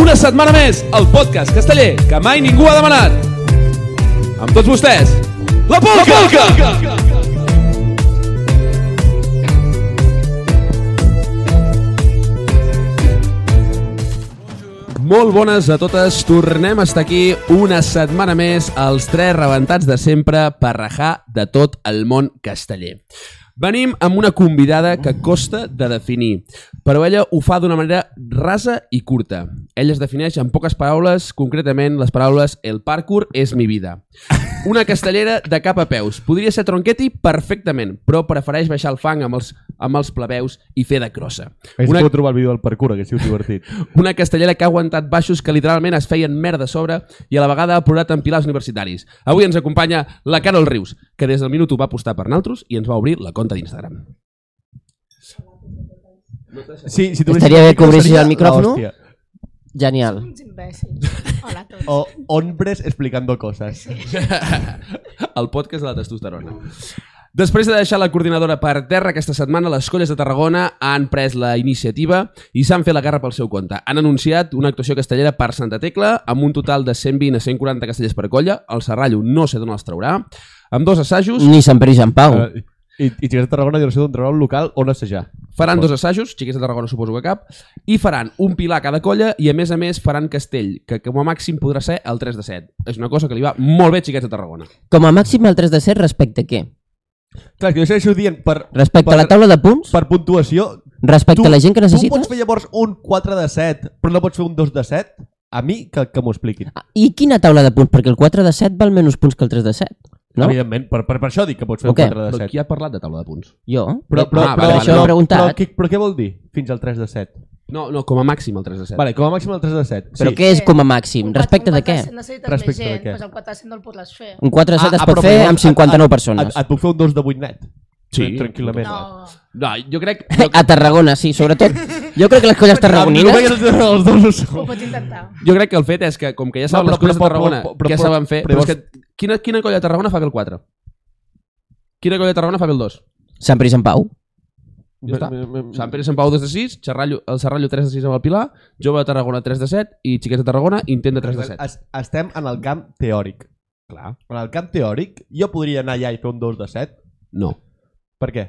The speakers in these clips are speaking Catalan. Una setmana més, el podcast casteller que mai ningú ha demanat. Amb tots vostès, la Polca! La Polca! Molt bones a totes, tornem a estar aquí una setmana més als tres rebentats de sempre per rajar de tot el món casteller. Venim amb una convidada que costa de definir, però ella ho fa d'una manera rasa i curta. Ella es defineix en poques paraules, concretament les paraules «El parkour és mi vida». Una castellera de cap a peus. Podria ser tronqueti perfectament, però prefereix baixar el fang amb els, amb els plebeus i fer de crossa. Hauria Una- una... pogut trobar el vídeo del parkour, que sigut divertit. Una castellera que ha aguantat baixos que literalment es feien merda a sobre i a la vegada ha plorat en pilars universitaris. Avui ens acompanya la Carol Rius, que des del minut ho va apostar per naltros i ens va obrir la conta d'Instagram. Sí, si Estaria bé que obrissis el micròfon. Genial. Uns imbècils. Hola a tots. O hombres explicando cosas. El podcast de la testosterona. Després de deixar la coordinadora per terra aquesta setmana, les colles de Tarragona han pres la iniciativa i s'han fet la guerra pel seu compte. Han anunciat una actuació castellera per Santa Tecla amb un total de 120 a 140 castellers per colla. El Serrallo no sé d'on els traurà. Amb dos assajos... Ni Sant Pere i Sant Pau. Eh, I, i si és de Tarragona, jo no sé d'on trobar un local on assajar. Faran dos assajos, xiquets de Tarragona suposo que cap, i faran un pilar a cada colla i a més a més faran castell, que com a màxim podrà ser el 3 de 7. És una cosa que li va molt bé a xiquets de Tarragona. Com a màxim el 3 de 7 respecte a què? Clar, que jo segueixo dient per, Respecte a la taula de punts? per puntuació... Respecte a la gent que Tu pots necessites? fer llavors un 4 de 7, però no pots fer un 2 de 7? A mi, que, que m'ho expliquin. Ah, I quina taula de punts? Perquè el 4 de 7 val menys punts que el 3 de 7. No? Evidentment, per, per, per això dic que pots fer Ok, un 4 de Però 7. qui ha parlat de taula de punts? Jo? Però, però, Ah, però, vale, vale, això ho he no, preguntat. però, qui- però què vol dir fins al 3 de 7? No, no, com a màxim el 3 de 7. Vale, com a màxim el 3 de 7. Però sí. què és com a màxim? Eh, Un quatre- Respecte un de què? 400 Necessites Respecte més de gent, què? doncs el 400 no el podràs fer. Un 4 de 7 Ah, es ah, pot però fer llavors amb et- 59 Et, persones. et puc fer un 2 de 8 net? Sí. Tranquil·lament. No. No, jo crec... Jo, A Tarragona, sí, sobretot. Jo crec que les colles tarragonines... els dos ho Ho sou. pots intentar. jo crec que el fet és que, com que ja saben No, no, però- les colles de però- però- Tarragona, però- però- què però- saben fer... Però, però és que, quina, quina colla de Tarragona fa que el 4? Quina colla de Tarragona fa que el 2? Sant Pere i Sant Pau. Ja està. Sant Pere i Sant Pau 2 de 6, Xerrallo, el Serrallo 3 de 6 amb el Pilar, Jove de Tarragona 3 de 7 i Xiquets de Tarragona intent de 3 de 7. Es, estem en el camp teòric. Clar. En el camp teòric, jo podria anar allà i fer un 2 de 7. No, Per què?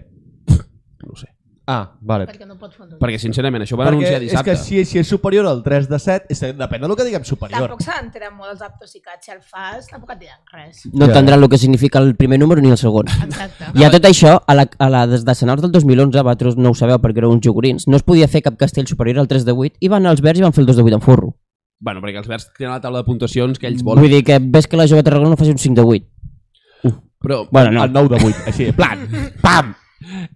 no ho sé. Ah, vale. Perquè no pots fer un dos. Perquè, sincerament, això ho van anunciar és dissabte. que si, si és superior al 3 de 7, és, que depèn del que diguem superior. Tampoc s'han entrat molt els aptos i cats. Si el fas, tampoc et diran res. No Ja. entendran el que significa el primer número ni el segon. Exacte. I a tot això, a la, a la des de senals del 2011, vosaltres no ho sabeu perquè éreu uns jogorins, no es podia fer cap castell superior al 3 de 8 i van anar als verds i van fer el 2 de 8 en furro. Bueno, perquè els verds tenen la taula de puntuacions que ells volen. Vull dir que ves que la jove Tarragona no faci un 5 de 8. Però Bueno, no. El 9 de 8, així, en plan, pam!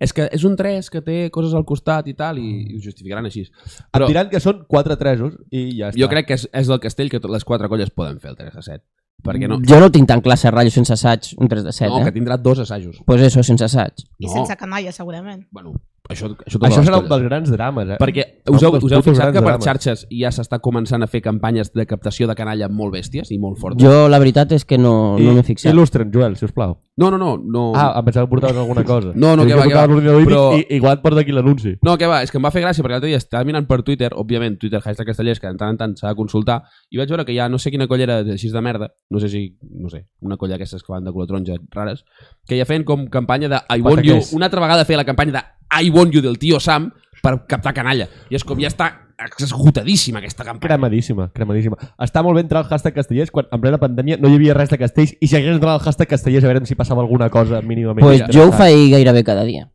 és que és un 3 que té coses al costat i tal, i, i ho justificaran així. Però... Però Em diran que són 4 tresos i ja està. jo crec que és, és del castell que tot, les quatre colles poden fer el 3 a 7. Perquè Mm, no, Jo no el tinc tan clar Serrallo sense assaig, un 3 de 7, no no, que eh? tindrà dos assajos. Pues això, sense assaig. I No. sense canalla, segurament. Bueno, això, això, totes Això les serà un colles. dels grans drames, eh? Perquè Un us heu, dels us heu putos fixat grans que per drames. xarxes ja s'està començant a fer campanyes de captació de canalla molt bèsties i molt fortes. Jo la veritat és que no, no m'he fixat. Il·lustren, Joel, sisplau. No, no, no. no. Ah, em pensava que portaves alguna cosa. No, no, Jo que que va, que portava va. l'ordinador i dic, Però- i- Igual et porta aquí l'anunci. No, que va, és que em va fer gràcia perquè l'altre dia estava mirant per Twitter, òbviament, Twitter, hashtag castellers, que de tant en tant s'ha de consultar, i vaig veure que hi ha no sé quina colla era així de merda, no sé si, no sé, una colla d'aquestes que van de color taronja rares, que ja feien com campanya de I want you, Pataquers. una altra vegada feia la campanya de I want you del tio Sam per captar canalla. I és com ja està esgotadíssima aquesta campanya. Cremadíssima, cremadíssima. Està molt bé entrar al hashtag castellers quan en plena pandèmia no hi havia res de castells i si hagués entrat al hashtag castellers a veure si passava alguna cosa mínimament. pues jo ho interessant. faig gairebé cada dia.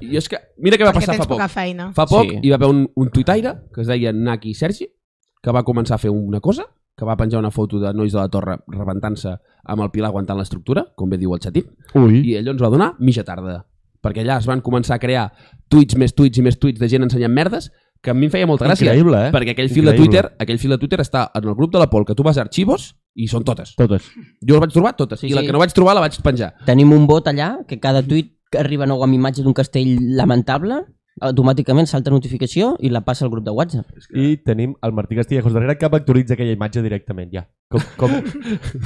I és que, mira què va Perquè passar tens fa poc. poca feina. Fa poc Sí. hi va haver un, un tuitaire que es deia Naki Sergi, que va començar a fer una cosa, que va penjar una foto de nois de la torre rebentant-se amb el pilar aguantant l'estructura, com bé diu el xatín, Ui, i ell ens va donar mitja tarda. Perquè allà es van començar a crear tuits, més tuits i més tuits de gent ensenyant merdes, que a mi em feia molta gràcia. increïble, eh? Perquè aquell fil de Increïble. Twitter, aquell fil de Twitter està en el grup de la Pol, que tu vas a arxivos i són totes. Totes. Jo les vaig trobar totes, Sí, i la sí. que no vaig trobar la vaig penjar. Tenim un bot allà que cada tuit que arriba nou amb imatge d'un castell lamentable automàticament salta notificació i la passa al grup de WhatsApp. I tenim el Martí Castillejos darrere que vectoritza aquella imatge directament, ja. Com, com,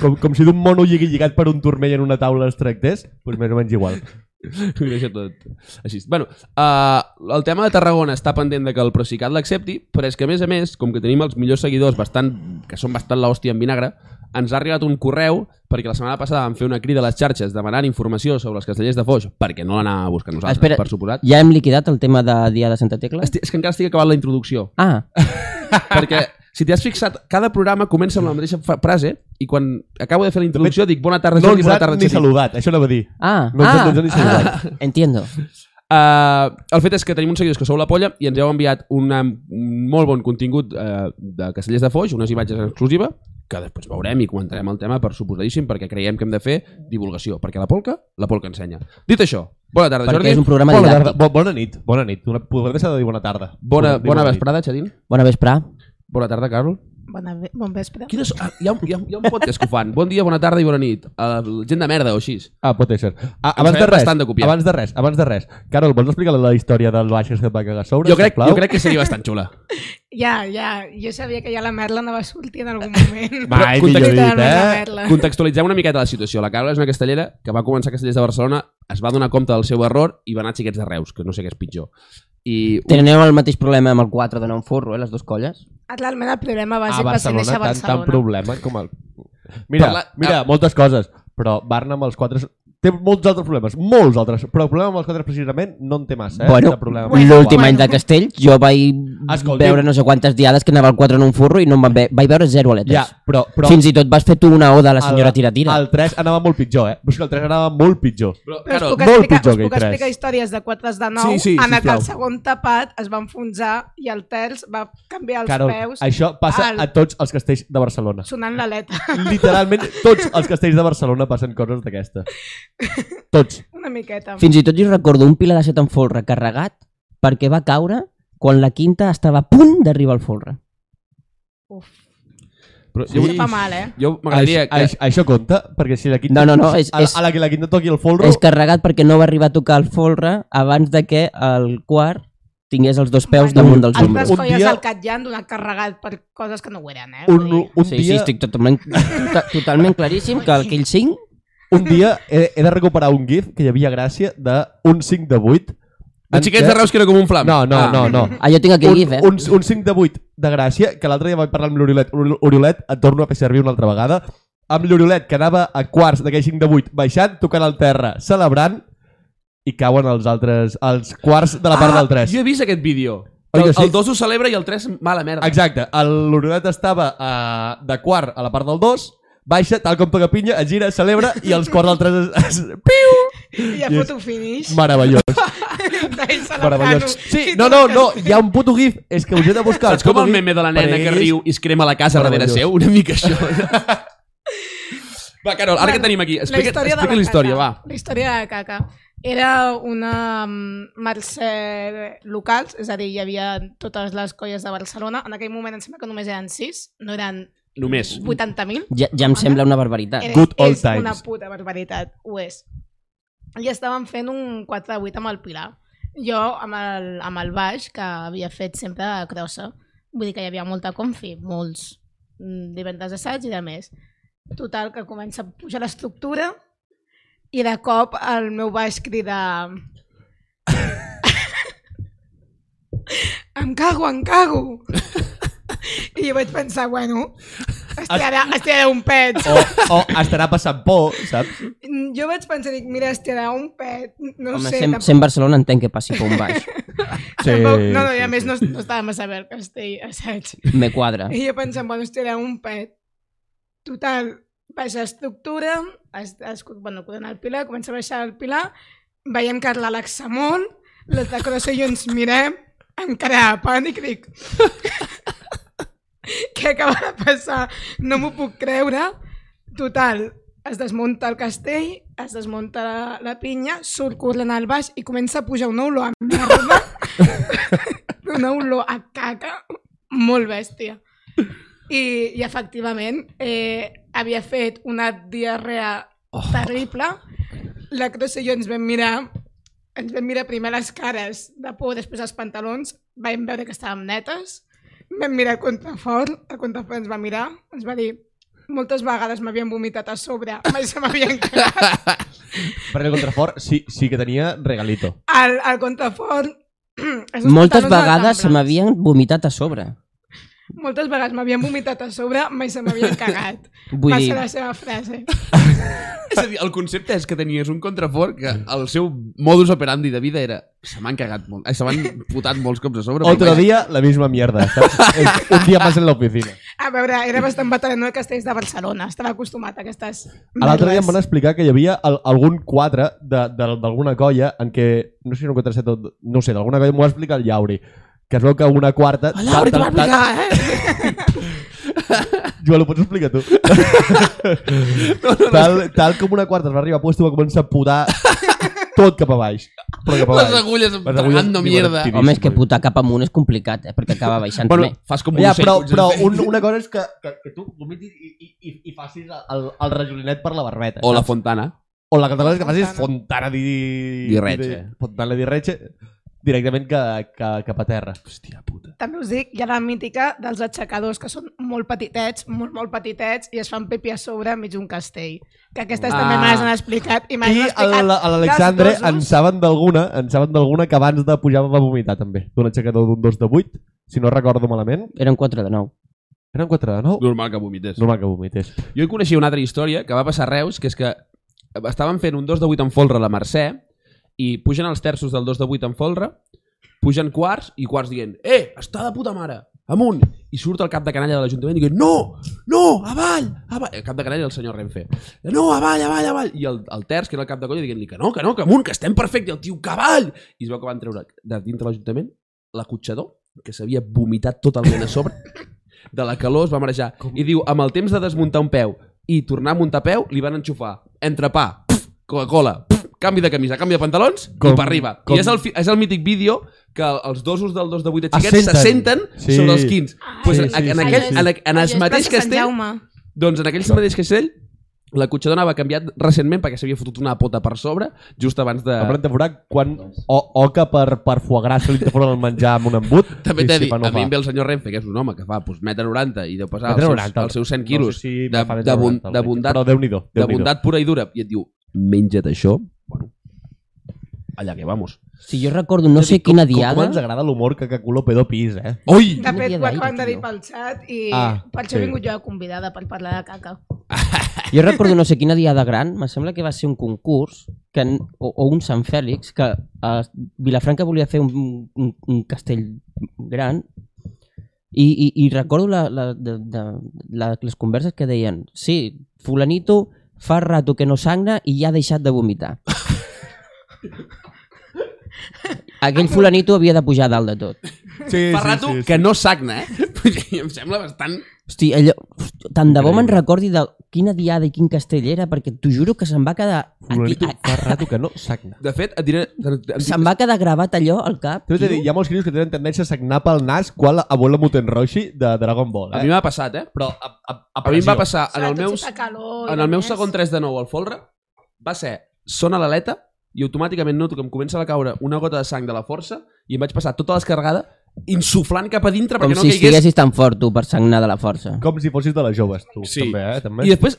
com, com si d'un mono lligui lligat per un turmell en una taula es tractés, doncs més o menys igual. Ho deixo tot així. Bueno, uh, el tema de Tarragona està pendent de que el Procicat l'accepti, però és que, a més a més, com que tenim els millors seguidors bastant, que són bastant l'hòstia en vinagre, ens ha arribat un correu perquè la setmana passada vam fer una crida a les xarxes demanant informació sobre els castellers de Foix perquè no l'anàvem a buscar nosaltres, Espera. per suposat. Ja hem liquidat el tema de Dia de Santa Tecla? Esti- És que encara estic acabant la introducció. Ah, perquè, si t'hi has fixat, cada programa comença amb la mateixa fra- frase i quan acabo de fer la introducció dic bona tarda, No Jordi, ens bona han tarda, ni Xavi. saludat, això anava a dir. ah, No ens ah, han- no ens han ni saludat. entiendo. Uh, el fet és que tenim uns seguidors que sou la polla i ens heu enviat una, un molt bon contingut uh, de Castellers de Foix, unes imatges en exclusiva, que després veurem i comentarem el tema per suposadíssim, perquè creiem que hem de fer divulgació, perquè la polca, la polca ensenya. Dit això, bona tarda, Perquè Jordi. és un programa Bona didàctic. tarda, bo, bona nit, bona nit. Una- Podem deixar de dir bona tarda. Bona, Podem dir bona nit. vesprada, Xadín. Bona vespre. Bona tarda, Carol. Bona, ve- bon vespre. Quines, ah, hi, ha, un- hi, ha, un- hi ha un podcast que ho fan. Bon dia, bona tarda i bona nit. Uh, gent de merda o així. Ah, pot ser. Ah, abans, de sabem res, bastant de copiar. abans de res, abans de res. Carol, vols explicar la història del baix que et va cagar a sobre? Jo crec, sisplau? jo crec que seria bastant xula. Ja, ja, jo sabia que ja la Merla no va sortir en algun moment. Va, Mai Però millor contexta- dit, la eh? Merla. Contextualitzem una miqueta la situació. La Carla és una castellera que va començar a Castellers de Barcelona, es va donar compte del seu error i va anar a Xiquets de Reus, que no sé què és pitjor. I Tenen el mateix problema amb el 4 de un forro, eh, les dues colles. Realment el problema A bàsic va ser Barcelona, néixer a tant, tant Barcelona. problema com el... Mira, Parla- ah. mira, moltes coses, però Barna amb els quatre... és- Té molts altres problemes, molts altres, però el problema amb els quatre precisament no en té massa, eh? Bueno, De problema. L'últim Bueno. any de Castell, jo vaig Escolti. veure no sé quantes diades que anava el 4 en un forro i no em van ve... vaig veure zero aletes. Ja, però... però Fins i tot vas fer tu una oda a la senyora el- Tiratira. El 3 anava molt pitjor, eh? Però és que el 3 anava molt pitjor. Però, Però us Carol, molt puc explicar, pitjor us que puc el tres. explicar històries de 4 de 9 Sí, sí, en la que sisplau. el segon tapat es va enfonsar i el terç va canviar els Carol, peus això passa al- a tots els castells de Barcelona. sonant l'aleta. Literalment, tots els castells de Barcelona passen coses d'aquesta. Tots. Una miqueta. Fins i tot jo recordo un pilar de set en folre carregat perquè va caure quan la quinta estava a punt d'arribar al folre. Uf, però Sí. jo, això fa mal, eh? jo m'agradaria que... Això, això compta? Perquè si la quinta... No, no, no, és- a, la- és- a la que la quinta toqui el folro... És carregat perquè no va arribar a tocar el folre abans de que el quart tingués els dos peus Bueno, damunt dels un- Altres hombros. un colles dia- dia... al Catllà han donat carregat per coses que no ho eren, eh? Un, Vull dir, un Sí, sí, dia, estic totalment, tota- totalment claríssim que aquell 5 un dia he, he de recuperar un gif que hi havia gràcia d'un 5 de 8. De Xiquets de Reus que era com un flam. No, no, no, no. Ah, jo tinc aquell un, gif, eh? un, un 5 de 8 de gràcia, que l'altre dia vaig parlar amb l'Oriolet. Ori- Oriolet, et torno a fer servir una altra vegada. Amb l'Oriolet, que anava a quarts d'aquell 5 de 8, baixant, tocant al terra, celebrant, i cauen els altres, els quarts de la part del 3. Ah, Jo he vist aquest vídeo. Oi que El, sí? el 2 ho celebra i el 3 mala merda. Exacte, el- l'Oriolet estava uh, de quart a la part del 2, baixa, tal com toca pinya, es gira, celebra, i els quarts del 3 es... es piu! I a i és- foto finish. Meravellós, d'ells a la meravellós. Cano. Sí, no, no, no, hi ha un puto gif, és que us he de buscar. Saps com puto el gif meme de la nena perquè que és- riu i es crema la casa darrere Meravellós. seu? Una mica això. va, Carol, ara Bueno, que tenim aquí, La explica, història de explica la la història, va. caca. La història de la caca. Era una mm, mercè locals, és a dir, hi havia totes les colles de Barcelona. En aquell moment em sembla que només eren 6, no eren Només. 80.000. ja, ja em sembla una barbaritat. Era- Good old és una times. puta barbaritat, ho és. I estaven fent un 4 de 8 amb el Pilar. Jo amb el, amb el baix, que havia fet sempre de crossa. Vull dir que hi havia molta confi, molts mm, divendres assaig i de més. Total, que comença a pujar l'estructura i de cop el meu baix crida... em cago, em cago! I jo vaig pensar, bueno, estirarà, estirarà un pet. o, o estarà passant por, saps? Mm, Jo vaig pensar, dic, mira, estirarà un pet, no Home, sé. sent, tampoc- sent Barcelona entenc que passi per un baix. tampoc- no, no, i a més no, no estava massa bé el castell, saps? Me quadra. I jo pensant, bueno, estirarà un pet. Total, baixa estructura, es, es, bueno, codona el pilar, comença a baixar el pilar, veiem que l'Alexa molt, les de Crossa i jo ens mirem, encara a pànic, dic... Què acaba de passar? No m'ho puc creure. Total, es desmunta el castell, es desmunta la, la pinya, surt corrent al baix i comença a pujar una olor a merda, una olor a caca, molt bèstia. I, i efectivament, eh, havia fet Oh. una diarrea terrible. La Cross i jo ens vam mirar ens vam mirar primer les cares de por, després els pantalons, vam veure que estàvem netes, vam mirar el contrafort, el contrafort ens va mirar, ens va dir moltes vegades m'havien vomitat a sobre, mai se m'havien quedat. Per el contrafort sí, sí que tenia regalito. El, el contrafort... és uns Moltes pantalons de vegades se latambra. m'havien vomitat a sobre. Moltes vegades m'havien vomitat a sobre, mai se m'havien cagat. Vull va dir, ser la seva frase. És a dir, el concepte és que tenies un contrafort que el seu modus operandi de vida era se m'han cagat molt, eh, se m'han putat molts cops a sobre. Otro però vaja, día, la misma mierda. ¿sabes? Es un día más en la oficina. A veure, era bastant veterano de castells de Barcelona, estava acostumat a aquestes... A l'altre dia em merdes. van explicar que hi havia el, algun quadre de- de- d'alguna colla en què, no sé si era un quadre set o... No ho sé, d'alguna colla m'ho va explicar el Llauri. Que es veu que una quarta... El Lauri t'ho va tal- tal- explicar, eh? Joan, ho pots explicar tu? tal, tal com una quarta es va arribar a puesto va començar a putar tot cap a baix. Però cap a Les baix. agulles Les agulles pagant diuen mierda. activisme. home, és que putar cap amunt és complicat, eh? Perquè acaba baixant Bueno, bueno, també. fas com un Ja, ocell, però, puges però bé. un, una cosa és que, que, que tu vomitis i, i, i, i facis el, el rajolinet per la barbeta. O la saps? fontana. O la catalana és que facis fontana Fontana. di... Di Reche. Fontana di Reche directament que, que, cap a terra. Hòstia puta. També us dic, hi ha la mítica dels aixecadors, que són molt petitets, molt, molt petitets, i es fan pepi a sobre enmig d'un castell. Que aquestes Ah. també me les han explicat. I, me les I han a explicat la- a l'Alexandre dels dosos. en saben d'alguna en saben d'alguna que abans de pujar va vomitar també. D'un aixecador d'un 2 de 8, si no recordo malament. Eren 4 de 9. Eren 4 de 9? Normal que vomites. Normal que vomités. Jo hi coneixia una altra història que va passar a Reus, que és que estaven fent un 2 de 8 en folre a la Mercè i pugen els terços del 2 de 8 en folre, pugen quarts i quarts dient «Eh, està de puta mare! Amunt!» I surt el cap de canalla de l'Ajuntament i diu «No! No! Avall! avall!» El cap de canalla del senyor Renfe. «No! Avall! Avall! Avall!» I el, el terç, que era el cap de colla, dient-li que no, que no, que amunt, que estem perfecte! I el tio, que avall! I es veu que van treure de dintre l'Ajuntament l'acotxador, que s'havia vomitat totalment a sobre, de la calor es va marejar. Com? I diu, amb el temps de desmuntar un peu i tornar a muntar a peu, li van enxufar entrepà, pf, Coca-Cola, pf, canvi de camisa, canvi de pantalons Com- i per arriba. com- I és el, fi- és el mític vídeo que els dosos del 2 de 8 de xiquets Assenten. se senten Sí. sí. sobre els 15. Ah, Ai, pues en, sí, sí, en, sí, aquell, sí. en, en el Allò mateix és plaça Sant castell, Jaume. doncs en aquell mateix castell, la cotxadona va canviat recentment perquè s'havia fotut una pota per sobre just abans de... A planta forat, quan o, oca per, per foie gras se li t'aforen el menjar amb un embut. També i t'he si dit, fa, no a mi fa. em ve el senyor Renfe, que és un home que fa pues, 1,90 m i deu pesar els Metre seus, 90, els seus 100 No quilos sé si de, fa més de, bun, 90, de, bondat, Però Déu-n'hi-do. de Déu nhi bondat pura i dura. I et diu, menja't això, bueno, allà que vamos. Si jo recordo no sé quina Com, com ens diada... agrada l'humor que Caculo pedo pis, eh? Ui! De Quina fet, dia ho d'aire, acabem de dir tio. pel xat i Ah, per això he sí. vingut jo de convidada per parlar de caca. Jo recordo no sé quina diada gran, me sembla que va ser un concurs que, en- o, o un Sant Fèlix que a Vilafranca volia fer un, un, un castell gran i, i, i recordo la, la, de, de, la, les converses que deien sí, fulanito fa rato que no sagna i ja ha deixat de vomitar. Aquell fulanito havia de pujar a dalt de tot. Sí, Fa rato que no sagna, eh? Vull dir, em sembla bastant... Hosti, allò, hosti, tant de bo me'n Increïble. recordi de quina diada i quin castell era, perquè t'ho juro que se'm va quedar... Aquí, Florenito fa rato que no sagna. De fet, et diré... et- et- se'm va quedar gravat allò al cap. També t'he dit, hi ha molts crios que tenen tendència a sagnar pel nas qual abuela Mutenroshi de Dragon Ball, eh? A mi m'ha passat, eh? Però a, a, a, A mi em va passar en el Sobretot meu, si fa calor i en el meu demés. segon 3 de 9 al folre, va ser, sona l'aleta i automàticament noto que em comença a caure una gota de sang de la força i em vaig passar tota l'escarregada insuflant cap a dintre Com perquè no si caigués estiguessis tan fort, tu, per sagnar de la força. Com si fossis de les joves, tu. Sí. També, eh? També. I després,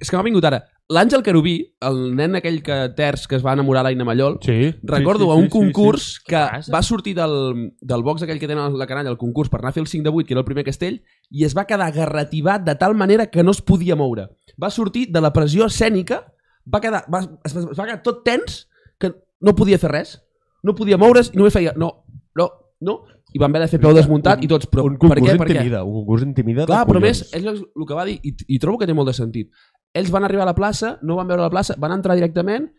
és que m'ha vingut ara, l'Àngel Carubí, el nen aquell que terç que es va enamorar l'Aina Mallol, sí, Sí. recordo sí, sí, a un concurs sí, sí. que Casa. va sortir del, del box aquell que tenen la canalla, el concurs per anar a fer el 5 de 8, que era el primer castell, i es va quedar garrativat de tal manera que no es podia moure. Va sortir de la pressió escènica, va quedar, va, es, va- es va quedar tot tens, que no podia fer res, no podia moure's i només feia no, no, no, i van haver de fer peu desmuntat i tots, però un concurs per què, per què? intimida, un concurs intimida de Clar, però a més, collons. és el, el que va dir, i, i trobo que té molt de sentit. Ells van arribar a la plaça, no van veure la plaça, van entrar directament,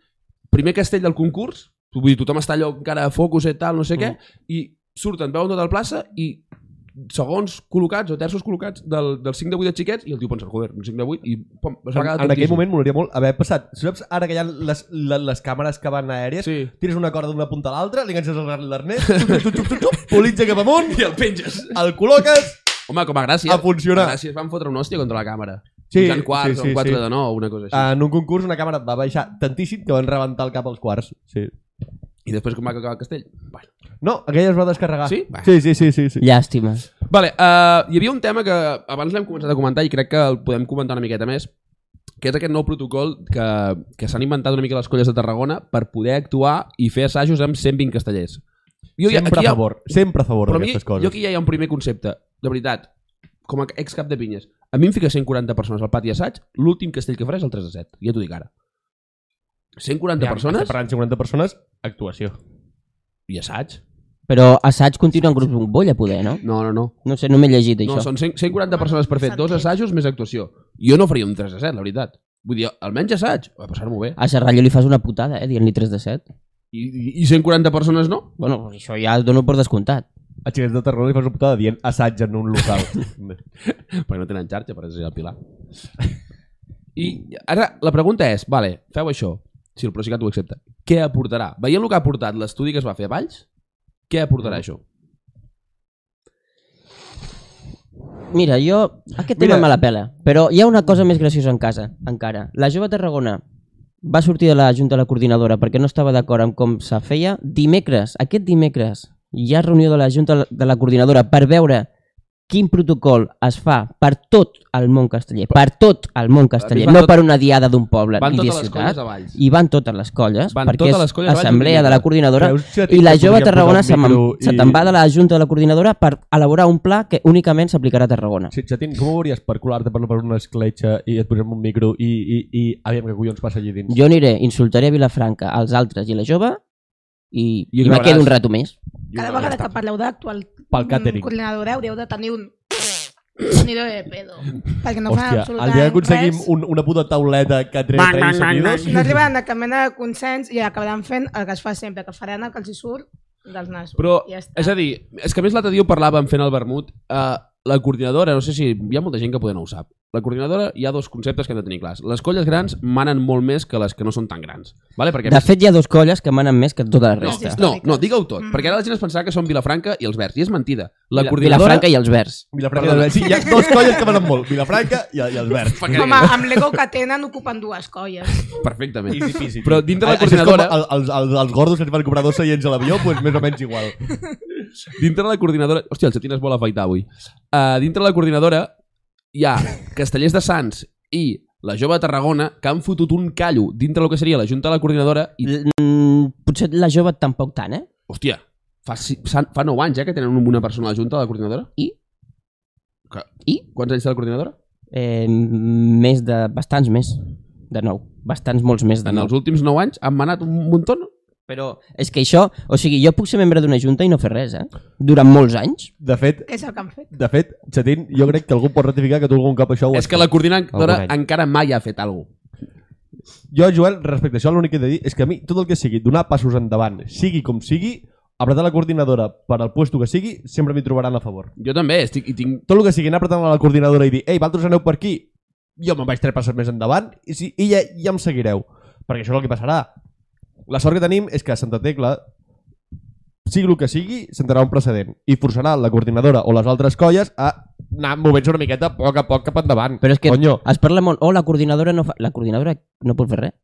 primer castell del concurs, vull dir, tothom està allò encara a focus i tal, no sé mm. què, i surten, veuen tota la plaça i segons col·locats o terços col·locats del, del 5 de 8 de xiquets i el tio pensa, joder, un 5 de 8 i pom, es va En, quedar en aquell tontíssim. moment m'agradaria molt haver passat... Saps ara que hi ha les, les, les càmeres que van aèries? Sí. Tires una corda d'una punta a l'altra, li enganxes el l'arnet, xup, xup, xup, xup, xup, politja cap amunt, I el penges. el col·loques... Home, com a gràcia. A funcionar. A gràcia es van fotre un hòstia contra la càmera. Sí, Sí, Jan quarts, sí, sí, sí, sí, un 4 sí. Ah. de 9, una cosa així. En un concurs una càmera va baixar tantíssim que van rebentar el cap als quarts. Sí. I després com va acabar el castell? Bueno. No, aquella es va descarregar. Sí? Va. Sí, sí, sí. sí, sí. Llàstima. Vale, uh, hi havia un tema que abans l'hem començat a comentar i crec que el podem comentar una miqueta més, que és aquest nou protocol que, que s'han inventat una mica les colles de Tarragona per poder actuar i fer assajos amb 120 castellers. Jo, ja- Sempre aquí a hi ha- favor. Sempre a favor Però a mi, d'aquestes coses. jo aquí ja hi ha un primer concepte, de veritat, com a ex cap de pinyes. A mi em fica 140 persones al pati assaig, l'últim castell que faré és el 3 de 7, ja t'ho dic ara. 140 Ja, persones estem Parlant de 50 persones, actuació. i assaig. Però assaig continua en grups bombolla, poder, no? No, no, no. No sé, no m'he llegit No, això. són 100, 140 persones per fer dos assajos més actuació. Jo no faria un 3 de 7, la veritat. Vull dir, almenys assaig, a passar-m'ho bé. A Serrallo li fas una putada, eh, dient-li 3 de 7. I, I 140 persones no? Bueno, doncs això ja el dono per descomptat. A Xinets de Tarragona li fas una putada dient assaig en un local. Perquè no tenen xarxa, per ser el Pilar. I ara la pregunta és, vale, feu això, si el Procicat ho accepta, què aportarà? Veient el que ha aportat l'estudi que es va fer a Valls, què aportarà això? Mira, jo... Aquest Mira. tema me la pela. Però hi ha una cosa més graciosa en casa, encara. La jove Tarragona va sortir de la Junta de la Coordinadora perquè no estava d'acord amb com se feia. Dimecres, aquest dimecres, hi ha reunió de la Junta de la Coordinadora per veure quin protocol es fa per tot el món casteller. Per tot el món casteller, van no tot- per una diada d'un poble Van ni de totes les colles ciutat. a Valls. I van totes les colles, Van perquè totes és les colles a Valls assemblea de la dimecres. coordinadora Creus que i la podríem jove posar a Tarragona un se micro me'n- se te'n va de la Junta de la Coordinadora per elaborar un pla que únicament s'aplicarà a Tarragona. Sí, Chatín, com ho veuries per colar-te per, per una escletxa i et posem un micro i, i, i aviam què collons passa allí dins? Jo aniré, insultaré a Vilafranca, als altres i la jove i, I i, me acabaràs. quedo un rato més. Cada vegada que parleu d'actual Pel càtering. coordinadora haureu de tenir un sonido de pedo. Perquè no fan Hòstia, el absolutament dia que aconseguim res. un, una puta tauleta que tregui bang, bang, seguidos... No arribaran a cap mena de consens i acabaran fent el que es fa sempre, que faran el que els hi surt dels nassos. Però, I ja està. és a dir, és que a més l'altre dia ho parlàvem fent el vermut, eh, la coordinadora, no sé si hi ha molta gent que poder no ho sap, la coordinadora hi ha dos conceptes que hem de tenir clars. Les colles grans manen molt més que les que no són tan grans. Vale? Perquè a De més- fet, hi ha dos colles que manen més que tota la no, resta. no, no digue-ho tot, mm. perquè ara la gent es pensarà que són Vilafranca i els Verds, i és mentida. La coordinadora... Vilafranca i els Verds. Vilafranca Perdona. i sí, hi ha dos colles que van molt, Vilafranca i, i els verds. Home, amb l'ego que tenen ocupen dues colles. Perfectament. Easy peasy. Però dintre la Eh, Això és com coordinadora... el- els, els, els gordos que ens van comprar dos seients a l'avió, doncs més o menys igual. dintre la coordinadora... Hòstia, el Chatín es vol afaitar avui. Uh, dintre la coordinadora hi ha Castellers de Sants i la jove de Tarragona que han fotut un callo dintre el que seria la Junta de la Coordinadora i, L- mm, Potser la jove tampoc tant, eh? hòstia, fa, si- s'han- fa 9 anys ja que tenen una persona a la Junta de la Coordinadora. I? Que, I? Quants anys té la Coordinadora? eh més de... Bastants més, de nou. Bastants molts més de En nou. els últims 9 anys han manat un muntó. Però és que això... O sigui, jo puc ser membre d'una junta i no fer res, eh? Durant molts anys. De fet, És el que han fet. de fet, Chatín, jo crec que algú pot ratificar que tu algun cop això ho has És que la Coordinadora Algun any. encara mai ha fet alguna cosa. Jo, Joel, respecte a això, l'únic que he de dir és que a mi tot el que sigui donar passos endavant, sigui com sigui, apretar la coordinadora per al puesto que sigui, sempre m'hi trobaran a favor. Jo també estic, i tinc Tot el que sigui anar apretant a la coordinadora i dir «Ei, vosaltres aneu per aquí», jo me'n vaig tres passes més endavant i, si, i ja, ja em seguireu. Perquè això és el que passarà. La sort que tenim és que Santa Tecla, sigui el que sigui, sentarà un precedent i forçarà la coordinadora o les altres colles a anar movent-se una miqueta a poc a poc cap endavant. Però és que Conyo, es parla molt... Oh, la coordinadora no fa... La coordinadora no pot fer res.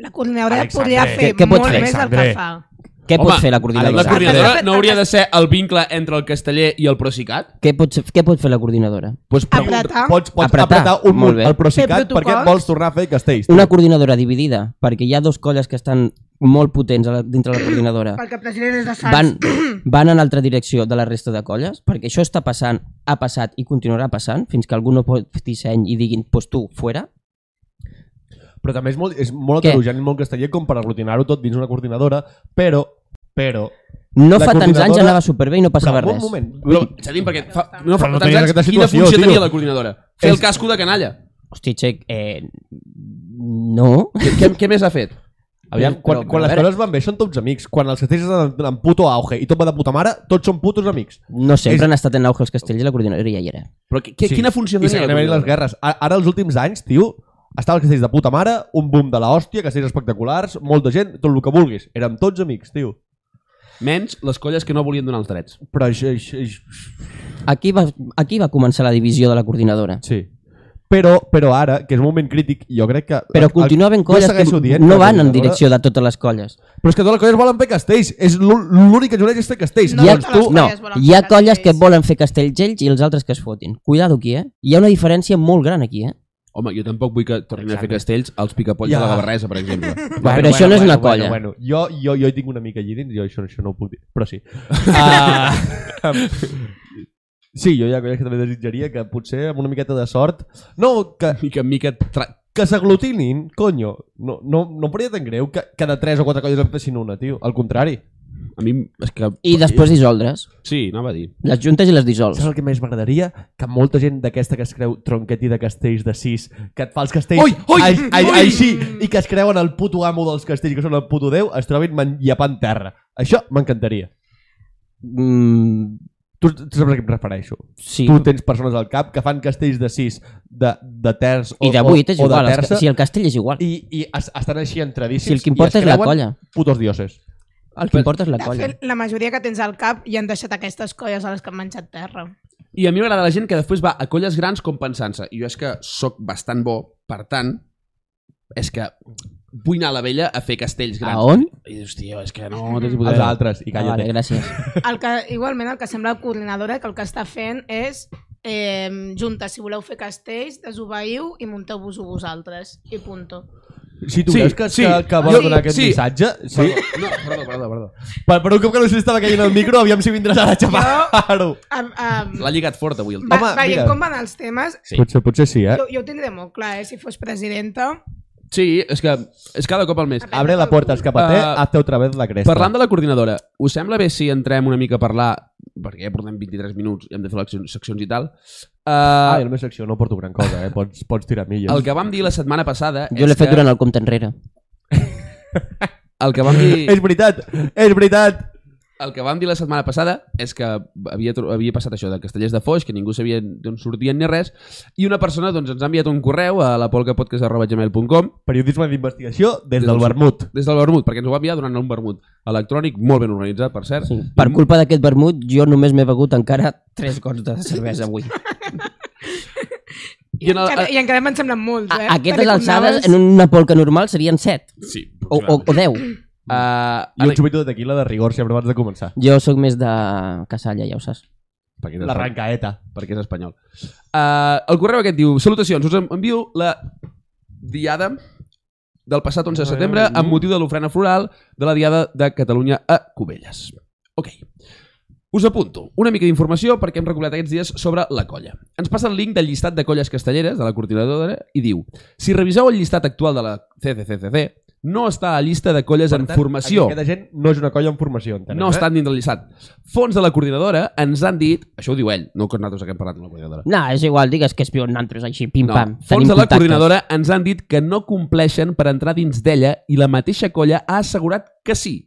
La coordinadora Alexandre. podria fer Què- què pot molt fer, més del que Alexandre? fa. Què Home, pot fer la coordinadora? La coordinadora Exacte. no hauria de ser el vincle entre el casteller i el Procicat? Què, pot, ser- què pot fer la coordinadora? Pues pregunta. Apretar. pots, pots Apretar. apretar, apretar un Molt munt bé. al Procicat Fer perquè protocols. vols tornar a fer castells. Una coordinadora dividida, perquè hi ha dos colles que estan molt potents a la, dintre la coordinadora. Perquè el president és de Sants. Van, van en altra direcció de la resta de colles, perquè això està passant, ha passat i continuarà passant, fins que algú no pot disseny i diguin, pues tu, fuera. Però també és molt, és molt Què? heterogeni, molt casteller, com per aglutinar-ho tot dins una coordinadora, però, però... No La fa tants anys coordinadora- anava superbé i no passava però, un res. moment, Però, Xatín, perquè fa, no fa Però no tants tenies anys, aquesta quina situació, funció tio. tenia la coordinadora? Fer el És- casco de canalla. Hosti, Txec, eh, no. Què, què, què més ha fet? aviam, Però- quan, però, quan a les veure. coses van bé són tots amics, quan els castells estan en, en puto auge i tot va de puta mare, tots són putos amics. No sempre És- han estat en auge els castells i la coordinadora ja hi era. Però que, que, Sí. sí. quina funció I tenia seguiran la venint les coordinadora? guerres. Ara, ara, els últims anys, tio, estava els castells de puta mare, un boom de la hòstia, castells espectaculars, molta gent, tot el que vulguis. Érem tots amics, tio. Menys les colles que no volien donar els drets. Però això, això, això Aquí va, aquí va començar la divisió de la coordinadora. Sí. Però, però ara, que és un moment crític, jo crec que... Però el- continua ben colles jo segueixo que dient no que van la en Colla- direcció de totes les colles. Però és que totes les colles volen fer castells. És l'ú- l'únic que juneix és fer castells. No, hi ha, Llavors, totes les tu... no, colles volen hi ha fer colles que castells. volen fer castells ells i els altres que es fotin. Cuidado aquí, eh? Hi ha una diferència molt gran aquí, eh? Home, jo tampoc vull que tornin a fer castells als picapolls Ja. de la Gavarresa, per exemple. Però això no és una colla. Bueno, jo, jo, jo hi tinc una mica allí dins, jo això, això no ho puc dir, però sí. Uh, sí, jo hi ha colles que també desitjaria que potser amb una miqueta de sort... No, que, mica en mica... Tra... que s'aglutinin, conyo. No, no, no em faria tan greu que, que de 3 o 4 colles en fessin una, tio. Al contrari. A mi... És que... I després dissoldre's. Sí, anava a dir. Les juntes i les dissols. Saps el que més m'agradaria? Que molta gent d'aquesta que es creu tronqueti de castells de 6, que et fa els castells Ui, ui, ai, ai, ui! així i que es creuen el puto amo dels castells, que són el puto déu, es trobin manllapant terra. Això m'encantaria. Mm, Tu, tu saps a què em refereixo. sí. Tu tens persones al cap que fan castells de 6, de, de terç o, I de o- vuit és o igual. de els ca- terça, Si el castell és igual. i, i es, estan així entradíssims Si el que importa i es és la creuen colla. putos dioses. El que importa és la De colla. fet, la majoria que tens al cap i han deixat aquestes colles a les que han menjat terra. I a mi m'agrada la gent que després va a colles grans compensant-se. I jo és que sóc bastant bo, per tant, és que vull anar a la vella a fer castells grans. A on? I dius, tio, és que no tens Els poder. altres, i Ah, calla't. vale, gràcies. El que, igualment, el que sembla la coordinadora que el que està fent és eh, juntes, si voleu fer castells, desobeiu i munteu-vos-ho vosaltres. I punto. Si tu Sí, sí, creus que, sí. sí. que, que vol Jo- donar aquest sí. sí. missatge... Sí. Perdó, no, perdó, perdó, perdó. Per, per un cop que no s'estava caient el micro, aviam si vindràs ara a xapar-ho. Um, um, L'ha lligat fort avui el va, tema. Home, veient mira. com van els temes, Sí. Potser, potser sí, eh? jo, jo ho tindré molt clar, eh? si fos presidenta. Sí, és que és cada cop al mes. Abre la puerta, escapate, Ah, uh, hazte otra vez la cresta. Parlant de la coordinadora, us sembla bé si entrem una mica a parlar, perquè ja portem 23 minuts i hem de fer leccions, seccions i tal, Ah, uh, jo la meva secció no porto gran cosa, eh? Pots, pots tirar Ah, milles. el que vam dir la setmana passada Jo l'he és fet que, durant el compte enrere. el que vam dir... És veritat, és veritat. El que vam dir la setmana passada és que havia, tro- havia passat això de Castellers de Foix, que ningú sabia d'on sortien ni res, i una persona doncs, ens ha enviat un correu a lapolcapodcast.gmail.com Periodisme d'investigació des Des del del- vermut. des del vermut, perquè ens ho va enviar durant un vermut electrònic, molt ben organitzat, per cert. Sí. Per culpa d'aquest vermut, jo només m'he begut encara tres gots de cervesa avui. I en el, Encara, a, I encara me'n semblen molts, eh? A aquestes Perquè alçades, anaves- en una polca normal, serien set. sí, O, o, o deu. Mm. Eh, a, I un xupito de tequila de rigor sempre abans de començar. Jo sóc més de casalla, ja ho saps. perquè, és espanyol, L'arrancaeta. perquè és espanyol. Uh, el correu aquest diu, salutacions, us en- envio la diada del passat 11 de setembre amb motiu de l'ofrena floral de la Diada de Catalunya a Cubelles. Ok. Us apunto una mica d'informació perquè hem recopilat aquests dies sobre la colla. Ens passa el link del llistat de colles castelleres de la coordinadora i diu si reviseu el llistat actual de la CCCCC no està a la llista de colles en formació. Aquesta gent no és una colla en formació, entenem. eh? No estan dintre el llistat. Fons de la coordinadora ens han dit... Això ho diu ell, no que nosaltres haguem parlat amb la coordinadora. No, és igual, digues que espion nantros així, pim-pam. No. Fons de la coordinadora ens han dit que no compleixen per entrar dins d'ella i la mateixa colla ha assegurat que sí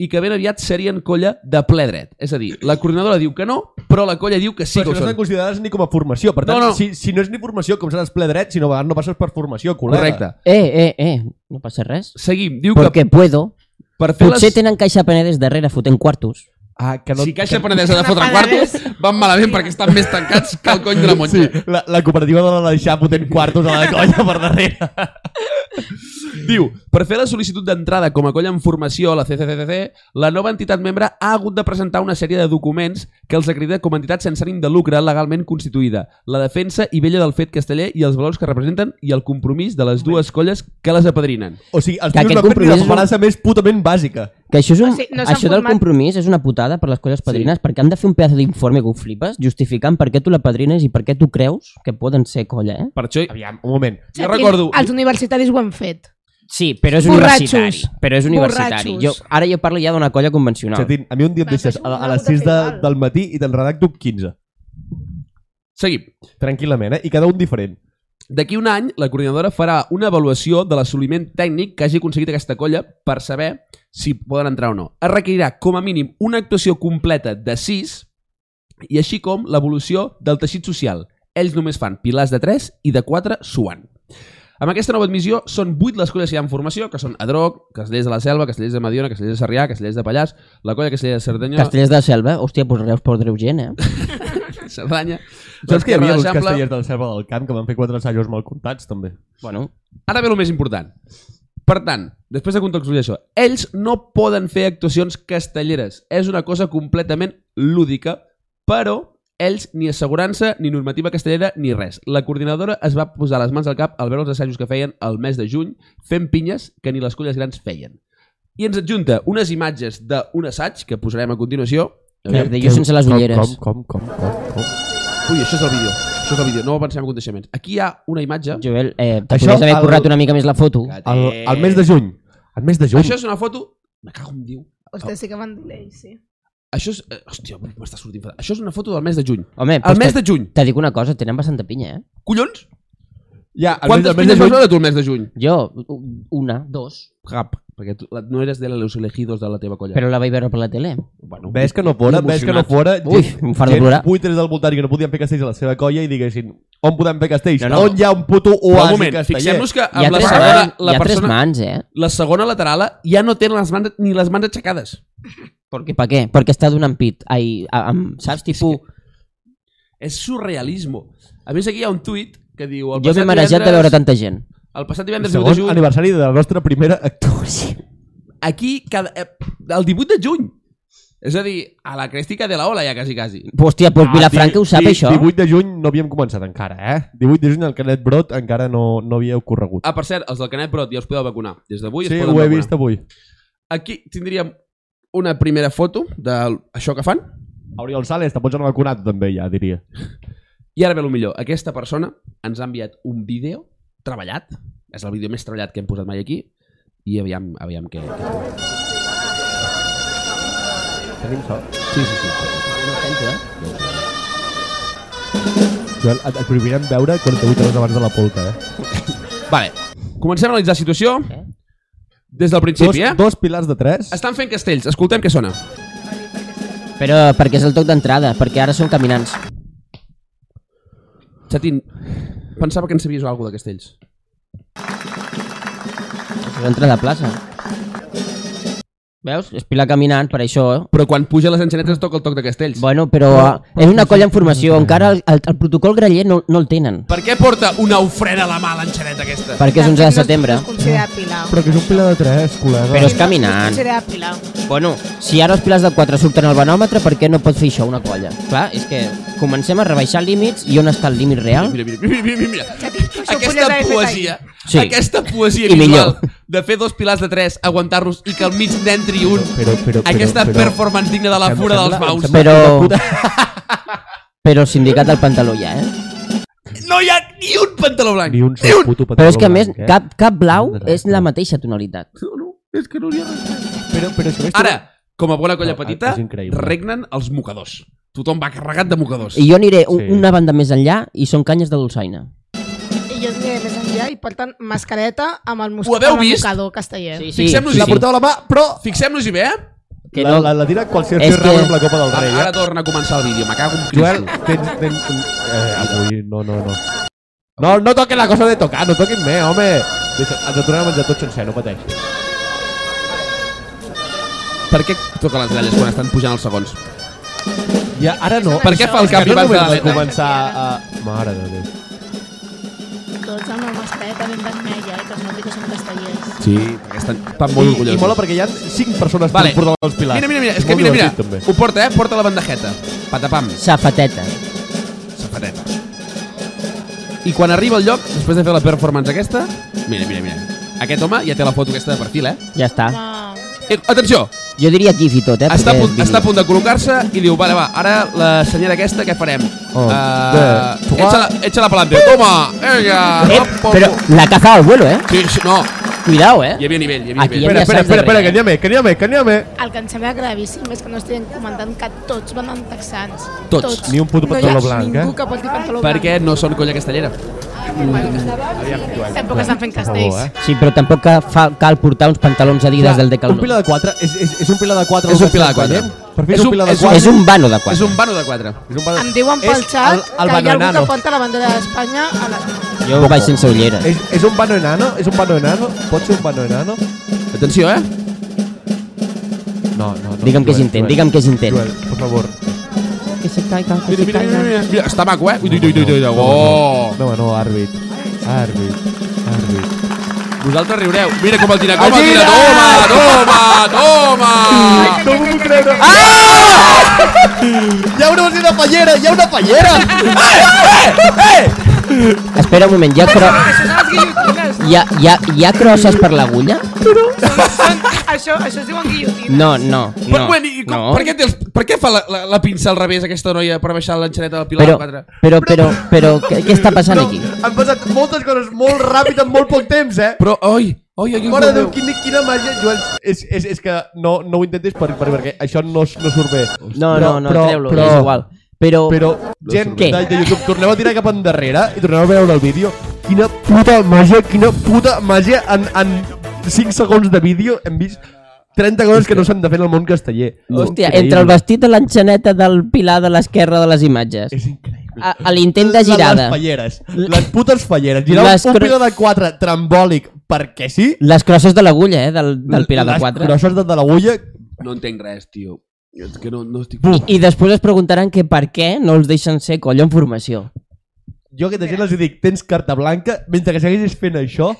i que ben aviat serien colla de ple dret. És a dir, la coordinadora diu que no, però la colla diu que sí Però que ho si no estan són. considerades ni com a formació. Per tant, No, no. Si, si no és ni formació, com seràs ple dret, si no, a vegades no passes per formació, col·lega. Correcte. Eh, eh, eh, no passa res. Seguim. Diu que Perquè puedo. per fer Potser les... tenen caixa penedes darrere fotent quartos. Ah, que no... Si Caixa Penedesa de fotre quartos, van malament perquè estan més tancats que el cony de la monja. Sí, la, la cooperativa de la deixar fotent quartos a la colla per darrere. Diu, per fer la sol·licitud d'entrada com a colla en formació a la CCCC, la nova entitat membre ha hagut de presentar una sèrie de documents que els acredita com a entitat sense ànim de lucre legalment constituïda, la defensa i vella del fet casteller i els valors que representen i el compromís de les dues colles que les apadrinen. O sigui, els Que tios aquest no han fet ni la compromís és un- paperassa més putament bàsica. Que això, és un, O sigui, no s'han això del format- compromís és una putada per les colles padrines perquè han de fer un pedaç d'informe que ho flipes justificant per què tu la padrines i per què tu creus que poden ser colla, eh? Per això, Aviam, un moment. jo recordo... Els universitaris ho han fet. Sí, però és Borratxos. universitari. Però és universitari. Jo, Borratxos. ara jo parlo ja d'una colla convencional. Chatín, a mi un dia em Vas, deixes és a, un a les altre 6 de, rival. del matí i te'n redacto 15. Seguim. Tranquil·lament, eh? I cada un diferent. D'aquí un any, la coordinadora farà una avaluació de l'assoliment tècnic que hagi aconseguit aquesta colla per saber si poden entrar o no. Es requerirà, com a mínim, una actuació completa de 6 i així com l'evolució del teixit social. Ells només fan pilars de 3 i de 4 suant. Amb aquesta nova admissió són 8 les colles que hi ha en formació, que són Adroc, Castellers de la Selva, Castellers de Mediona, Castellers de Sarrià, Castellers de Pallars, la colla Castellers de Cerdanya... Castellers de la Selva, hòstia, doncs Reus perdreu gent, eh? Cerdanya. Saps que hi havia uns l'Eixample. castellers del Cercle del Camp que van fer quatre assajos mal comptats, també. Bueno, Ara ve el més important. Per tant, després de contextualitzar això, ells no poden fer actuacions castelleres. És una cosa completament lúdica, però ells ni assegurança, ni normativa castellera, ni res. La coordinadora es va posar les mans al cap al veure els assajos que feien el mes de juny fent pinyes que ni les colles grans feien. I ens adjunta unes imatges d'un assaig que posarem a continuació. clar, de jo sense les Com, ulleres. Com, com, com, com, com. Ui, això és el vídeo. Això és el vídeo. No pensem en aconteixements. Aquí hi ha una imatge. Joel, eh, te Això podries haver el- currat una mica més la foto. El, el mes de juny. El mes de juny. Això és una foto... Me cago en diu. Oh. Hòstia, sí que van dolent, sí. Això és... eh, Hòstia, avui m'està sortint fatal. Això és una foto del mes de juny. Home, El pues mes te, de juny. te dic una cosa, tenen bastanta pinya, eh? Collons? Ja, el mes, Quantes el mes de pinyes vas juny. veure tu el mes de juny? Jo, u- una, dos, Cap. Perquè tu la- no eres de los elegidos de la teva colla. però la vaig veure per la tele. Bueno, Ves que no fora, ves que no Emocionat. fora. Ui, em fa de plorar. Vuitres del voltant que no podien fer castells a la seva colla i diguessin on podem fer castells? No, No, no. no. On hi ha un puto Però un oasi moment, casteller? fixem-nos que Hi ha, amb la tres, segona, mans, hi la ha tres persona, mans, eh? la segona lateral eh, ja no té les mans, ni les mans aixecades. Perquè, per què? Perquè està donant pit. Ai, a- amb, saps, tipus... És surrealismo. A més, aquí hi ha un tuit que diu... El Jo m'he passat marejat de divendres- veure tanta gent. El passat divendres 18 de Segon juny... aniversari de la nostra primera actuació. aquí cada, eh, el 18 de juny. És a dir, a la crèstica de la ola ja quasi, quasi. Hòstia, Ah, doncs Vilafranca di- ho sap, di- això. 18 de juny no havíem començat encara, eh? 18 de juny el Canet Brot encara no, no havia ocorregut. Ah, per cert, els del Canet Brot ja us podeu vacunar. Des d'avui sí, es ho poden he vacunar. vist avui. Aquí tindríem una primera foto d'això que fan. Oriol Sales, te pots anar vacunat també, ja, diria. I ara ve el millor. Aquesta persona ens ha enviat un vídeo treballat. És el vídeo més treballat que hem posat mai aquí. I aviam, aviam què... què... Tenim sort. Sí, sí, sí. No ho sento, eh? Joel, et, et prohibirem veure 48 hores abans de la polca, eh? Vale. Comencem a analitzar la situació. Eh? Des del dos, principi, eh? dos pilars de tres. Estan fent castells. Escoltem què sona. Però perquè és el toc d'entrada, perquè ara són caminants. Chatín, pensava que en sabies alguna cosa de castells. És l'entrada de plaça. Veus? És Pilar caminant, per això. eh? Però quan puja les enxanetes toca el toc de castells. Bueno, però eh, és una colla en formació. Encara el, el, el protocol graller no, no el tenen. Per què porta una ofrena a la mà l'enxaneta aquesta? Perquè és 11 de setembre. No es considera pilar. Però que és un pilar de tres, col·lega. Però és No- caminant. No es considera pilar. Bueno, si ara els pilars de 4 surten al banòmetre, per què no pot fer això una colla? Clar, és que comencem a rebaixar límits i on està el límit Ah? real? Mira, mira, mira, mira, mira, mira. Chatín, això podries Aquesta haver fet poesia, ahir. Sí. aquesta poesia I visual millor. de fer dos pilars de tres, aguantar-los i que al mig n'entri un, però, però, aquesta performance digna de la Em fura dels sembla- em maus. sembla- Però... Però el sindicat del pantaló ja, eh? No hi ha ni un pantaló blanc. Ni un sol puto Però és que a més, blanc, eh? cap, cap blau és la mateixa tonalitat. No, no, és que no hi ha res. Però, però és que a més, Ara, com a bona colla No, petita, és increïble. regnen els mocadors. Tothom va carregat de mocadors. I jo aniré un, Sí. una banda més enllà i són canyes de dolçaina. I jo aniré més enllà i porten mascareta amb el Ho haveu mosquitador vist? mocador casteller. Sí. Fixem-nos-hi. La portava a la mà, però... Fixem-nos-hi bé, eh? Que la, no- la, la tira qualsevol És que... que- amb la Copa del Ara, Rei, ara eh? torna a començar el vídeo, me cago en Joel, Cristo. tens... tens un- eh, avui, no, no, no. No, no toquen la cosa de tocar, no toquin més, home. Deixa, ens ho tornem a menjar tot sencer, no pateixis. Per què toca les galles quan estan pujant els segons? Ja, ara no. Per què fa el És que canvi no abans de només la va letra? començar a... Mare de Déu. Tots amb la mascareta ben vermella, eh, que es noti que són castellers. Sí, perquè estan, estan molt I, orgullosos. I mola perquè hi ha 5 persones Vale. vale. portant els pilars. Mira, mira, mira, és que molt mira, mira, divertit, també. ho porta, eh? Porta la bandejeta. Patapam, Safateta. safateta. I quan arriba al lloc, després de fer la performance aquesta, mira, mira, mira. Aquest home ja té la foto aquesta de perfil, eh? Ja està. Ah. eh atenció, Jo diria aquí i tot, eh? està a, perquè punt, és està a vídeo. punt de col·locar-se i diu, vale, va, ara la senyora aquesta què farem? Oh, Eh, de- Echa-la echa pelante, toma, venga, Eh, hop, però hop. la caza al vuelo, eh? Sí, sí, no, Cuidao, eh? hi havia nivell, hi havia Aquí hi nivell. havia- Espera, espera, sacs de espera, espera, rei, que n'hi ha més, que n'hi ha més, que n'hi ha més. El que em sembla gravíssim és que no estiguin comentant que tots van amb texans. Tots. Ni un puto pantaló no hi ha blanc, ningú eh? que porti pantaló Perquè no són colla castellera. blanc. Tampoc estan fent favor, castells. eh? Sí, però tampoc ca- fa, cal portar uns pantalons adidas del un pilar Decathlon. de 4 és, és, és un pilar de 4 És un pilar de quatre. Per fi és, un pilar de un- 4 És un vano de És quatre. un vano de quatre. Em diuen pel xat que hi ha algú que porta la bandera d'Espanya a les mans. Jo vaig sense ulleres. és, és un vano enano? És un vano enano? Pot ser un vano enano? Atenció, eh? No, no, no. Digue'm que és Joel, intent, Joel. digue'm que és intent. Joel, per favor. que se caiga, que Mira, se mira, mira, caiga. mira, mira, està maco, eh? Ui, ui, ui, ui, ui, oh! No, no, àrbit. Àrbit. Àrbit. Vosaltres riureu. Mira com el tira, com el Gira! tira. Toma, toma, toma! No m'ho puc creure. Ah! Hi ha una, una pallera, hi ha una pallera! Espera un moment, hi ha, cro... Això són les guillotines. hi ha, hi ha, hi ha crosses per l'agulla? Són, són, això, això es diuen guillotines. No, no, no. Però, bueno, i com, no. per, què té els, per què fa la, la, la pinça al revés aquesta noia per baixar l'enxaneta del Pilar Però, 4? però, però, però, què, què està passant No, aquí? han passat moltes coses molt ràpid en molt poc temps, eh? Però, oi, oi, oi, Mare oi, de Déu, oi. quina, quina màgia, Joan. És, és, és que no, no ho intentis per, per, perquè això no, s- no surt bé. No, no, no, Però- treu-lo, però- és igual. Però, Però, gent de, Què? de YouTube, torneu a tirar cap endarrere i torneu a veure el vídeo. Quina puta màgia, quina puta màgia. En, en 5 segons de vídeo hem vist 30 coses que no s'han de fer en el món casteller. hòstia, Increïble. entre el vestit de l'enxaneta del pilar de l'esquerra de les imatges, És increïble. a, a l'intent de girada, Les falleres. Les putes falleres. Girar Les un cro- pilar de 4 trambòlic perquè sí. les crosses de l'agulla, eh, del, del pilar de les 4. grosses de, de l'agulla. No entenc res, tio. És que no, no estic... I, I després es preguntaran que per què no els deixen ser colla en formació. Jo a aquesta gent els hi dic, tens carta blanca, mentre que segueixis fent això,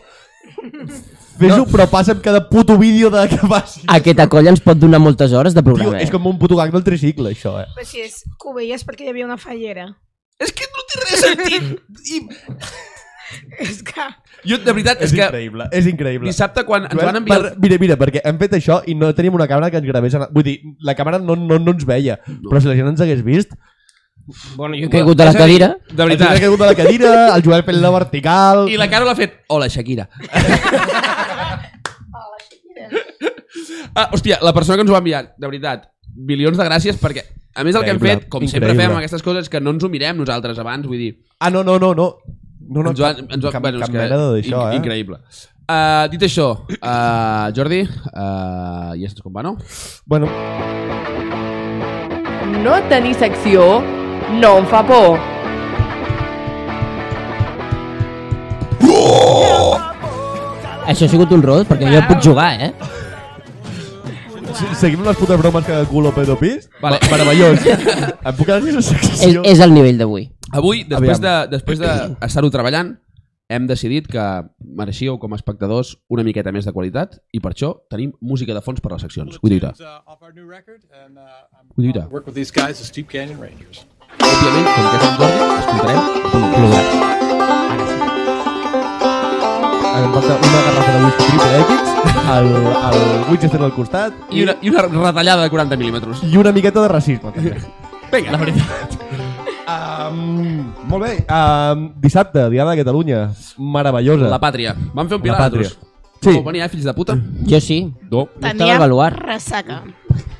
fes-ho, però passa amb cada puto vídeo de que facis. Aquesta colla ens pot donar moltes hores de Tio, programa. eh? és com un puto gang del tricicle, això, eh? Però si és que ho veies perquè hi havia una fallera. És que no té res sentit. I, És que... jo, de veritat, és, És que increïble, és increïble. dissabte quan ens Joan, van enviar... per, mira, mira, perquè hem fet això i no teníem una càmera que ens gravés. en- Vull dir, la càmera no, no, no ens veia, però si la gent ens hagués vist, Bueno, jo he caigut de la És a dir, cadira. De ens hauria veritat. caigut de la cadira, el Joel fent la vertical... I la cara l'ha fet... Hola, Shakira. ah, hòstia, la persona que ens ho ha enviat, de veritat, milions de gràcies perquè... A més, el que hem Increïble, fet, com sempre increïble. fem amb aquestes coses, és que no ens ho mirem nosaltres abans, vull dir... Ah, no, no, no, no. No, no, ens ho han, ens ho han, cap, bueno, és cap que, mena d'això, inc- eh? Increïble. Uh, dit això, uh, Jordi, uh, ja saps com va, no? Bueno, No tenir secció no em fa por. Això ha sigut un rot, perquè jo puc jugar, eh? se- seguim les putes bromes que culo pedo pis. Vale. Ma- Meravellós. em puc anar a la És, secció? és el nivell d'avui. Avui, després Aviam. de, després de estar-ho treballant, hem decidit que mereixíeu com a espectadors una miqueta més de qualitat i per això tenim música de fons per a les seccions. Vull dir-te, uh, vull dir-te. Work with these guys, the Steep Canyon Rangers. Òbviament, com que és en Jordi, escoltarem un programa. Ara em falta Ah, una garrafa de whisky triple X, el, el Winchester al costat I una, I una retallada de 40 mil·límetres. i una miqueta de racisme, també. Vinga, la veritat. Um, molt bé, um, dissabte, Diada de Catalunya, meravellosa. La pàtria. Vam fer un La pilar pàtria. nosaltres. Sí. Sí. No, venia, eh, fills de puta. Jo sí. No. Estava avaluar. ressaca.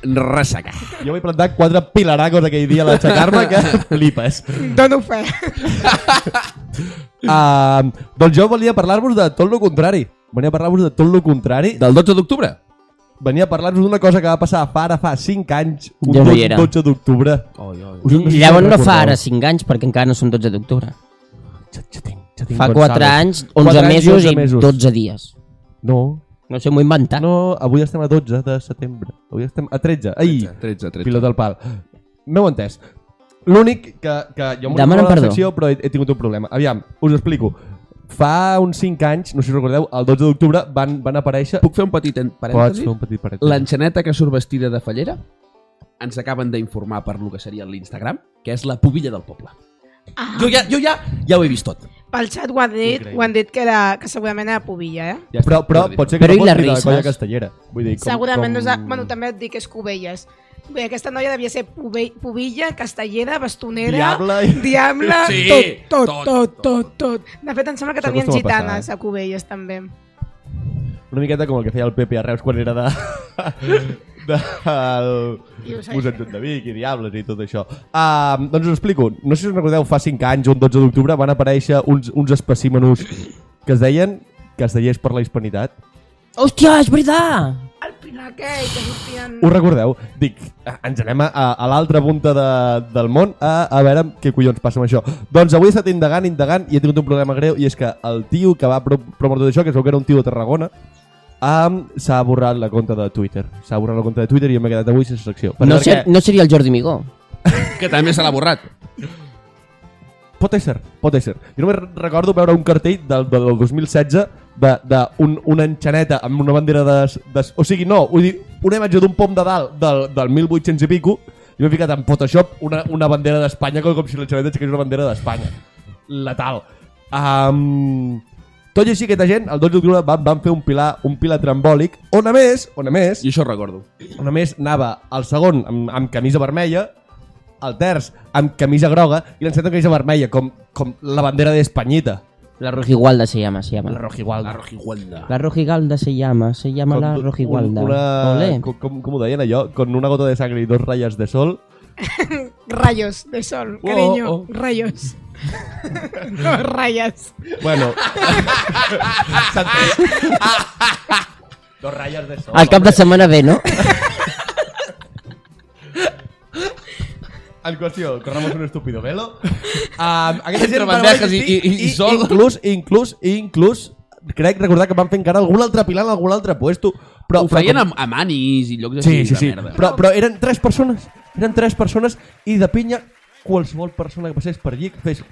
Ressaca. Jo vaig plantar quatre pilaracos aquell dia a l'aixecar-me que flipes. Dono fe. Um, doncs jo volia parlar-vos de tot lo contrari. Venia a parlar-vos de tot lo contrari. Del 12 d'octubre. Venia a parlar-vos d'una cosa que va passar fa ara fa 5 anys, un Jo no hi dot- era. 12 d'octubre. Oi, oi. Us- us Llavors no fa recordeu? ara 5 anys, perquè encara no són 12 d'octubre. Ja, ja tinc, ja tinc Fa Gonzalo. 4 anys, 11 Quatre anys i mesos 11 i 12 dies. No, No sé, m'ho he inventat. no, avui estem a 12 de setembre. Avui estem a 13. Ai, 13, 13. pilot al pal. M'heu entès. L'únic que, que jo m'ho Demana recordo a la perdó. secció, però he, he tingut un problema. Aviam, us explico. Fa uns 5 anys, no sé si recordeu, el 12 d'octubre van, van aparèixer... Puc fer un petit en- Pots parèntesi? fer un petit paret. L'enxaneta que surt vestida de fallera ens acaben d'informar per lo que seria l'Instagram, que és la pubilla del poble. Ah, Jo ja, jo ja, ja ho he vist tot. pel xat ho han dit, ho han dit que, era, que segurament era pobilla, eh? Ja Però, però Jordi. pot ser que Però i no fos ni les de la risses? colla castellera. Vull dir, com, Segurament com... no és... de- Bueno, també et dic que és Cubelles. Bé, aquesta noia devia ser pove- pobilla, castellera, bastonera... Diable i- Diable, Sí, tot, tot, tot, tot, tot, tot. De fet, em sembla que Això tenien acostuma a passar, gitanes eh? a Cubelles, també. Una miqueta com el que feia el Pepe a Reus quan era de... de el... I us- Museu Joan de Vic i Diables i tot això. Uh, doncs us explico. No sé si us recordeu, fa 5 anys, un 12 d'octubre, van aparèixer uns, uns especímenos que es deien castellers per la hispanitat. Hòstia, és veritat! El Pilar aquell, que sortien... Ho recordeu? Dic, eh, ens anem a, a, a l'altra punta de, del món a, a veure què collons passa amb això. Doncs avui he estat indagant, indagant, i he tingut un problema greu, i és que el tio que va pro promoure tot això, que es veu que era un tio de Tarragona, um, s'ha borrat la conta de Twitter. S'ha borrat la conta de Twitter i jo m'he quedat avui sense secció. Per No, veure ser, què- no seria el Jordi Migó. que també se l'ha borrat. Pot ser, pot ser. Jo només recordo veure un cartell del, del 2016 de, de un, una enxaneta amb una bandera de... de o sigui, no, vull dir, una imatge d'un pom de dalt del, del 1800 i pico i m'he ficat en Photoshop una, una bandera d'Espanya com, com si l'enxaneta aixequés una bandera d'Espanya. Letal. Um, tot i així, aquesta gent, el 12 d'octubre van, van fer un pilar, un pilar trambòlic, on a més, on a més, I això ho recordo. on a més anava el segon amb, amb camisa vermella, el terç amb camisa groga i l'encet amb camisa vermella, com, com la bandera d'Espanyita. La Rojigualda se llama, se llama. La Rojigualda. Rojigualda. La Rojigualda se llama, se llama la Com- Rojigualda. Una, Olé. com, com, com ho deien allò? Con una gota de sangre i dos ratlles de sol. Rayos de sol, cariño. oh. Rayos. no, rayas. Bueno. s'entén. dos ratlles de sol. Al cap de setmana ve, no? En qüestió, corramos un estúpido velo. Um, aquesta Entre gent va bandejas i- resistir i- i sol. Inclús, inclús, inclús, crec recordar que van fer encara algun altre pilar en algun altre puesto. Però, Ho però feien com- amb, amb anis i llocs Sí, així de sí, sí. merda. Però, però eren tres persones. Eren tres persones i de pinya qualsevol persona que passés per allí que fes...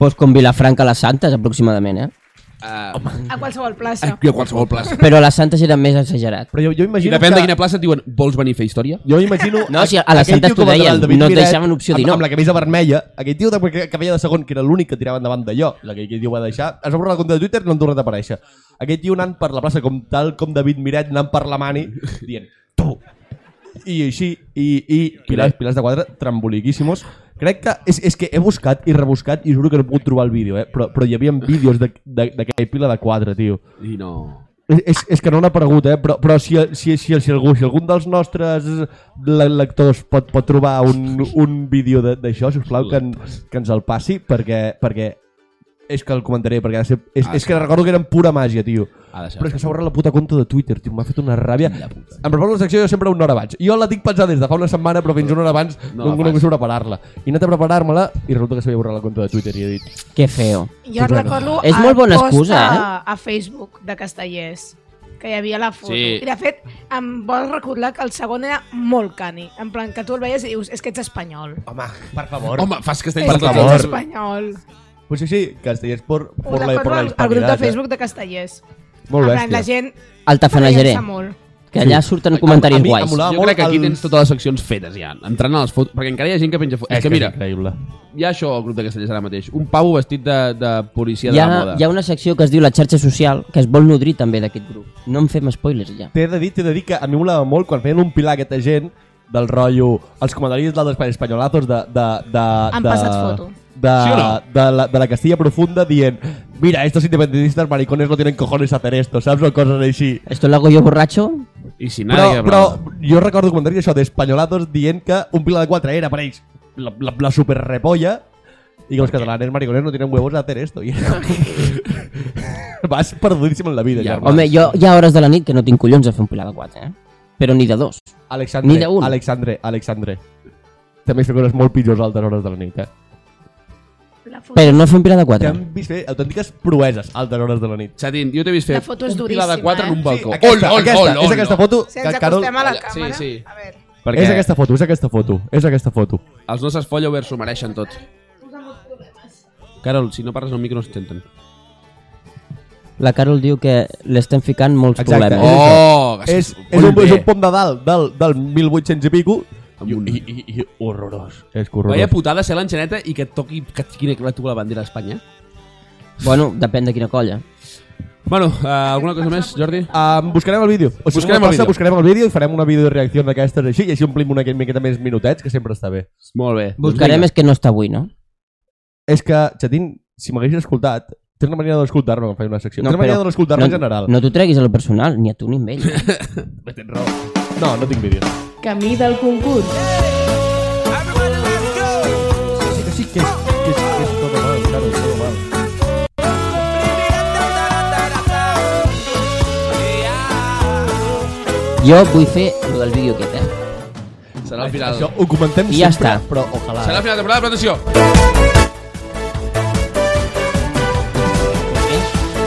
Pues com Vilafranca a les Santes, aproximadament, eh? Uh, A qualsevol plaça. I a qualsevol plaça. Però a les Santes era més exagerat. Però jo, jo I imagino depèn que... de quina plaça et diuen vols venir a fer història? Jo imagino... No, si a les aquell Santes tio que t'ho va entrar deien, al David no et Miret deixaven opció amb- dir no. Amb la camisa vermella, aquell tio de- que, que feia de segon, que era l'únic que tirava endavant d'allò, la que aquell tio va deixar, es va borrar la compte de Twitter i no han tornat a aparèixer. Aquell tio anant per la plaça, com tal com David Miret anant per la mani, dient, tu! I així, i, i pilars, pilars de quadre tramboliquíssimos. Crec que... És, és que he buscat i rebuscat i juro que no he pogut trobar el vídeo, eh? Però, però hi havia vídeos de- de- d'aquell pila de quadre, tio. I no... És, és, és que no n'ha aparegut, eh? però, però si, si, si, si, algú, si algun dels nostres le- lectors pot, pot trobar un, un vídeo de- d'això, sisplau, que, en, que ens el passi, perquè, perquè és que el comentaré, perquè ha de ser, és, Ah, és sí. que recordo que eren pura màgia, tio. Ha de ser. Però és que s'ha borrat la puta compte de Twitter, tio, m'ha fet una ràbia. Em preparo la secció jo sempre una hora abans. Jo la tinc pensada des de fa una setmana, però fins una hora abans No no, la no, no fas. consigo preparar-la. I he anat a preparar-me-la i resulta que s'havia borrat la compte de Twitter i he dit... Que feo. Jo recordo És el molt bona post excusa, eh? a, a Facebook de Castellers que hi havia la foto. Sí. Sí. I de fet, em vol recordar que el segon era molt cani. En plan, que tu el veies i dius, és que ets espanyol. Home, per favor. Home, fas castell per Per tots favor. els Ets espanyol. Pues sí, sí, castellers por, por, la, Ho por la recordo al grup hispanidad. de eh? Facebook de Castellers. Molt en bèstia. plan, la gent Altafanejaré, revisa molt. que allà surten a comentaris mi em guais. molava Jo molt crec que aquí el- tens totes les seccions fetes ja, entrant a les fotos, perquè encara hi ha gent que penja fotos. És, que, mira, increïble. hi ha això al grup de castellers ara mateix, un pavo vestit de, de policia Hi de ha, la moda. hi ha una secció que es diu la xarxa social, que es vol nodrir també d'aquest grup. No en fem spoilers, ja. T'he de dir, t'he de dir que a mi molava molt quan feien un pilar aquesta gent del rotllo, els comentaris dels espai espanyolazos de... de, de Han de, passat foto. De, Sí o no? de, la, de la Castilla Profunda dient mira, estos independentistas maricones no tienen cojones a hacer esto, saps? O coses així. Esto lo hago yo borracho. I si Però, nada, però jo recordo comentaris això d'espanyolazos dient que un pilar de 4 era per ells la, la, la superrepolla i que els catalanes maricones no tienen huevos a hacer esto. I era com- Vas perdudíssim en la vida, Ja, ja, Home, jo hi ha hores de la nit que no tinc collons a fer un pilar de 4, eh? Però ni de dos. Alexandre, Ni de un. Alexandre, Alexandre. També has fet coses molt pitjors a altres hores de la nit, eh? La foto, Però no fer un pilar de T'hem 4. vist fer autèntiques proeses a altres hores de la nit. Xatín, jo t'he vist fer La foto és un pilar de duríssima, 4 eh? en un balcó. aquesta, aquesta, és aquesta foto si que ens Carol... acostem a la Sí, càmera... sí. A veure, Perquè És aquesta foto, és aquesta foto, és aquesta foto. els nostres followers s'ho mereixen tot. Carol, si no parles al micro no s'entenen. La Carol diu que l'estem ficant molts Exacte. problemes. Oh, És, és, un, és un pom de dalt del, del 1800 i pico i, i, i, i horrorós. És que horrorós. Vaya putada ser l'enxaneta i que et toqui que et quina la tu la bandera d'Espanya. Bueno, depèn de quina colla. Bueno, uh, alguna cosa més, Jordi? Um, buscarem el vídeo. O si Buscarem buscarem, el passa, vídeo. buscarem el vídeo i farem una vídeo de reacció d'aquestes així i així omplim una miqueta més minutets, que sempre està bé. Doncs Molt bé. Buscarem és que no està avui, no? És que, Xatín, si m'haguessis escoltat, tens una manera d'escoltar-me quan faig una secció. No, No, tens una manera però- d'escoltar-me No, en general. no t'ho treguis a lo personal, ni a tu ni a ell. No, tens raó. No, no tinc vídeo. Camí del concurs. Sí, que sí, que és, que és, que és tot mal, claro, tot mal. Jo vull fer el del vídeo aquest, eh? Serà el final. Això ho comentem I ja sempre, està. però ojalà. Serà el final de temporada, però atenció.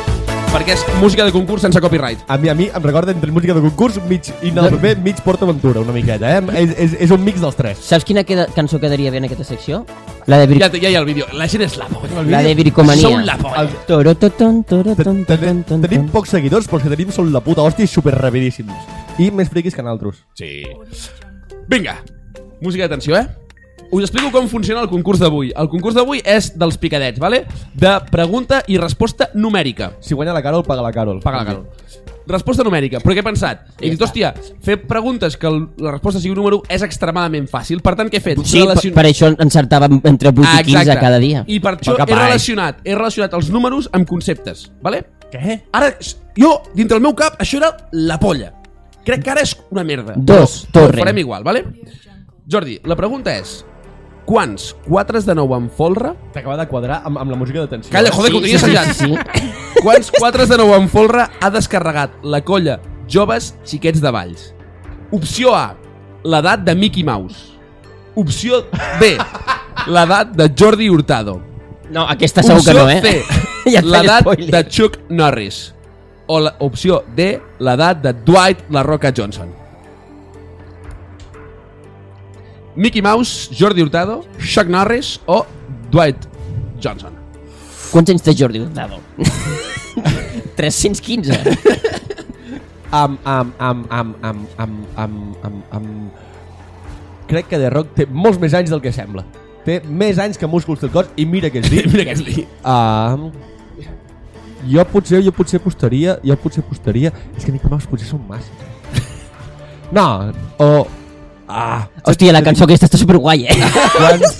Per perquè és música de concurs sense copyright. A mi, a mi em recorda entre música de concurs, mig Inalbé, mig PortAventura, una miqueta, eh? És, és, és un mix dels tres. Saps quina queda, cançó quedaria bé en aquesta secció? La de, Vir Ja, ja hi ha el vídeo. La gent és la polla. la de Viricomania. Són la polla. El- Torototon, Te- toroton, te- ton, ton, Tenim ton. pocs seguidors, però els que tenim són la puta hòstia i superrapidíssims. I més friquis que naltros. Sí. Vinga, música d'atenció, eh? Us explico com funciona el concurs d'avui. El concurs d'avui és dels picadets, vale? de pregunta i resposta numèrica. Si guanya la Carol, paga la Carol. Paga la Carol. Resposta numèrica, però què he pensat? He dit, hòstia, fer preguntes que el- la resposta sigui un número és extremadament fàcil. Per tant, què he fet? Sí, per, Relacion- per això encertàvem entre 8 i 15 Exacte. cada dia. I per això Poca he paix. relacionat, he relacionat els números amb conceptes, vale? Què? Ara, jo, dintre el meu cap, això era la polla. Crec que ara és una merda. Dos, Però torre. Ho farem igual, vale? Jordi, la pregunta és... Quants 4 de 9 en folre... T'acaba de quadrar amb, amb la música de tensió. Calla, joder, que ho tenies allà. Sí, sí. Quants 4 de 9 en folre ha descarregat la colla Joves Xiquets de Valls? Opció A, l'edat de Mickey Mouse. Opció B, l'edat de Jordi Hurtado. No, aquesta segur que opció no, eh? C, Ja et faig l'edat spoiler. de Chuck Norris. O la, opció D, l'edat de Dwight La Roca Johnson. Mickey Mouse, Jordi Hurtado, Chuck Norris o Dwight Johnson. Quants anys té Jordi Hurtado? 315. Am, am, am, am, am, am, am, am, am... Crec que The Rock té molts més anys del que sembla. Té més anys que músculs del cos i mira que és dit. Mira aquest li. Um, jo potser, jo potser apostaria, jo potser apostaria... És que Mickey Mouse potser són massa. No, o... Ah, Hòstia, la cançó aquesta està superguai, eh? quants, quants,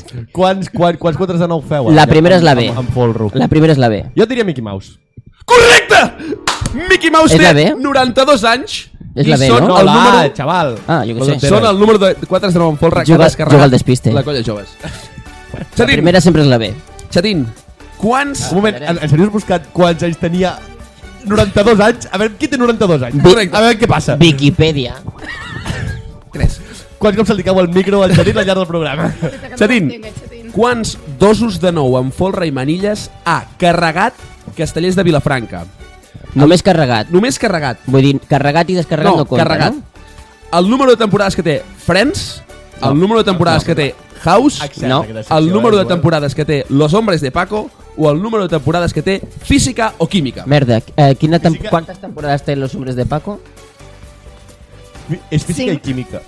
quants, quants quotes de nou feu? La ara? primera és la Amb- B. Amb, amb folro. La primera és la B. Jo diria Mickey Mouse. Correcte! Mickey Mouse És la té B? 92 anys És la i B, són no? No, el la A, número... xaval. Ah, jo què sé. Són el número de 4 de 9 en folre que ha Juga- descarregat juga al despiste. la colla Joves. La Xatín, primera Ah. sempre és la B. Xatín, quants... Un moment, en, en sèrio has buscat quants anys tenia 92 anys? A veure, qui té 92 anys? Correcte. A veure què passa. Wikipedia. Tres. Quants cops se li cau el micro al Xatín al llarg del programa? Xatín, Quants dosos de nou amb folre i manilles ha carregat Castellers de Vilafranca? Només carregat. Només carregat. Vull dir, carregat i descarregat no, compta, carregat. no? El número de temporades que té Friends, el número de temporades que té House, Accepta No. aquesta secció, el número eh, de temporades que té Los Hombres de Paco o el número de temporades que té Física o Química. Merda, eh, quina tem Física- quantes temporades té Los Hombres de Paco? És física i Cinc. química.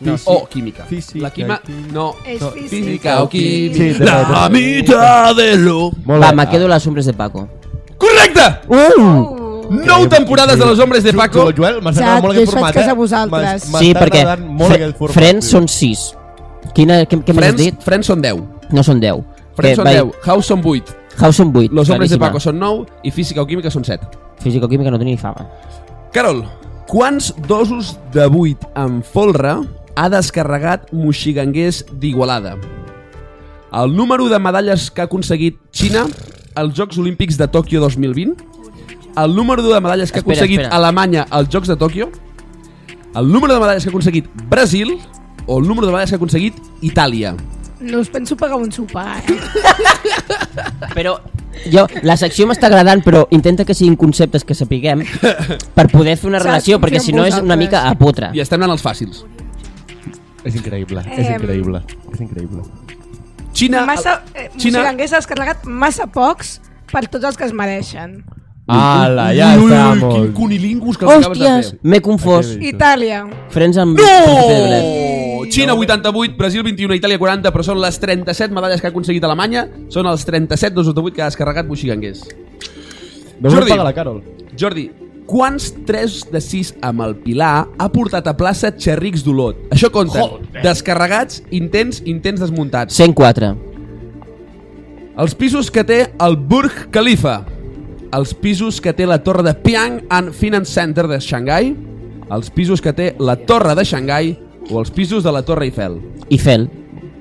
No, Físic- o Química. Física, La quima... química. No. És No, física, Física o Sí, Química. també, La també. mitad de lo... Molt Va, bé. me quedo Los Hombres de Paco. Correcte! Uh! Nou temporades de Los Hombres de Paco. Joel, Joel, m'ha Ja, agradat molt jo aquest us faig format, cas a eh? vosaltres. M'es- sí, m'està perquè agradant molt aquest format. Friends tio. són 6. Quina, què, què m'has Friends, dit? Friends són 10. No són 10. Friends són vai- 10, House són 8, House són 8. Los Hombres de Paco són 9 i Física o Química són 7. Físico-química no tenia ni fava. Carol, quants dosos de 8 en folre ha descarregat Moixiganguers d'Igualada? El número de medalles que ha aconseguit Xina als Jocs Olímpics de Tòquio 2020? El número de medalles que ha Espera, aconseguit espera. Alemanya als Jocs de Tòquio? El número de medalles que ha aconseguit Brasil? O el número de medalles que ha aconseguit Itàlia? No us penso pagar un sopar, eh? Però jo, la secció m'està agradant, però intenta que siguin conceptes que sapiguem per poder fer una Saps, relació, confio perquè en si no és una vosaltres. mica a putre. I estem anant als fàcils. És increïble, és Em. increïble, és increïble. Xina... Massa, eh, Xina- Moixiganguers ha descarregat massa pocs per tots els que es mereixen. Ala, Ui, ja ui, ui, estamos. Quin cunilingus que acabes de Hòsties, fer. m'he confós. Aquí ve. Itàlia. Friends amb... No! Xina 88, Brasil 21, Itàlia 40, però són les 37 medalles que ha aconseguit Alemanya, són els 37 2 de 8 que ha descarregat Buxiganguers. No vull Jordi. pagar la Carol. Jordi, quants 3 de 6 amb el Pilar ha portat a plaça Xerrics d'Olot? Això compta. Descarregats, intents, intents desmuntats. 104. Els pisos que té el Burj Khalifa. Els pisos que té la torre de Pyang and Finance Center de Xangai. Els pisos que té la torre de Xangai o els pisos de la Torre Eiffel. Eiffel.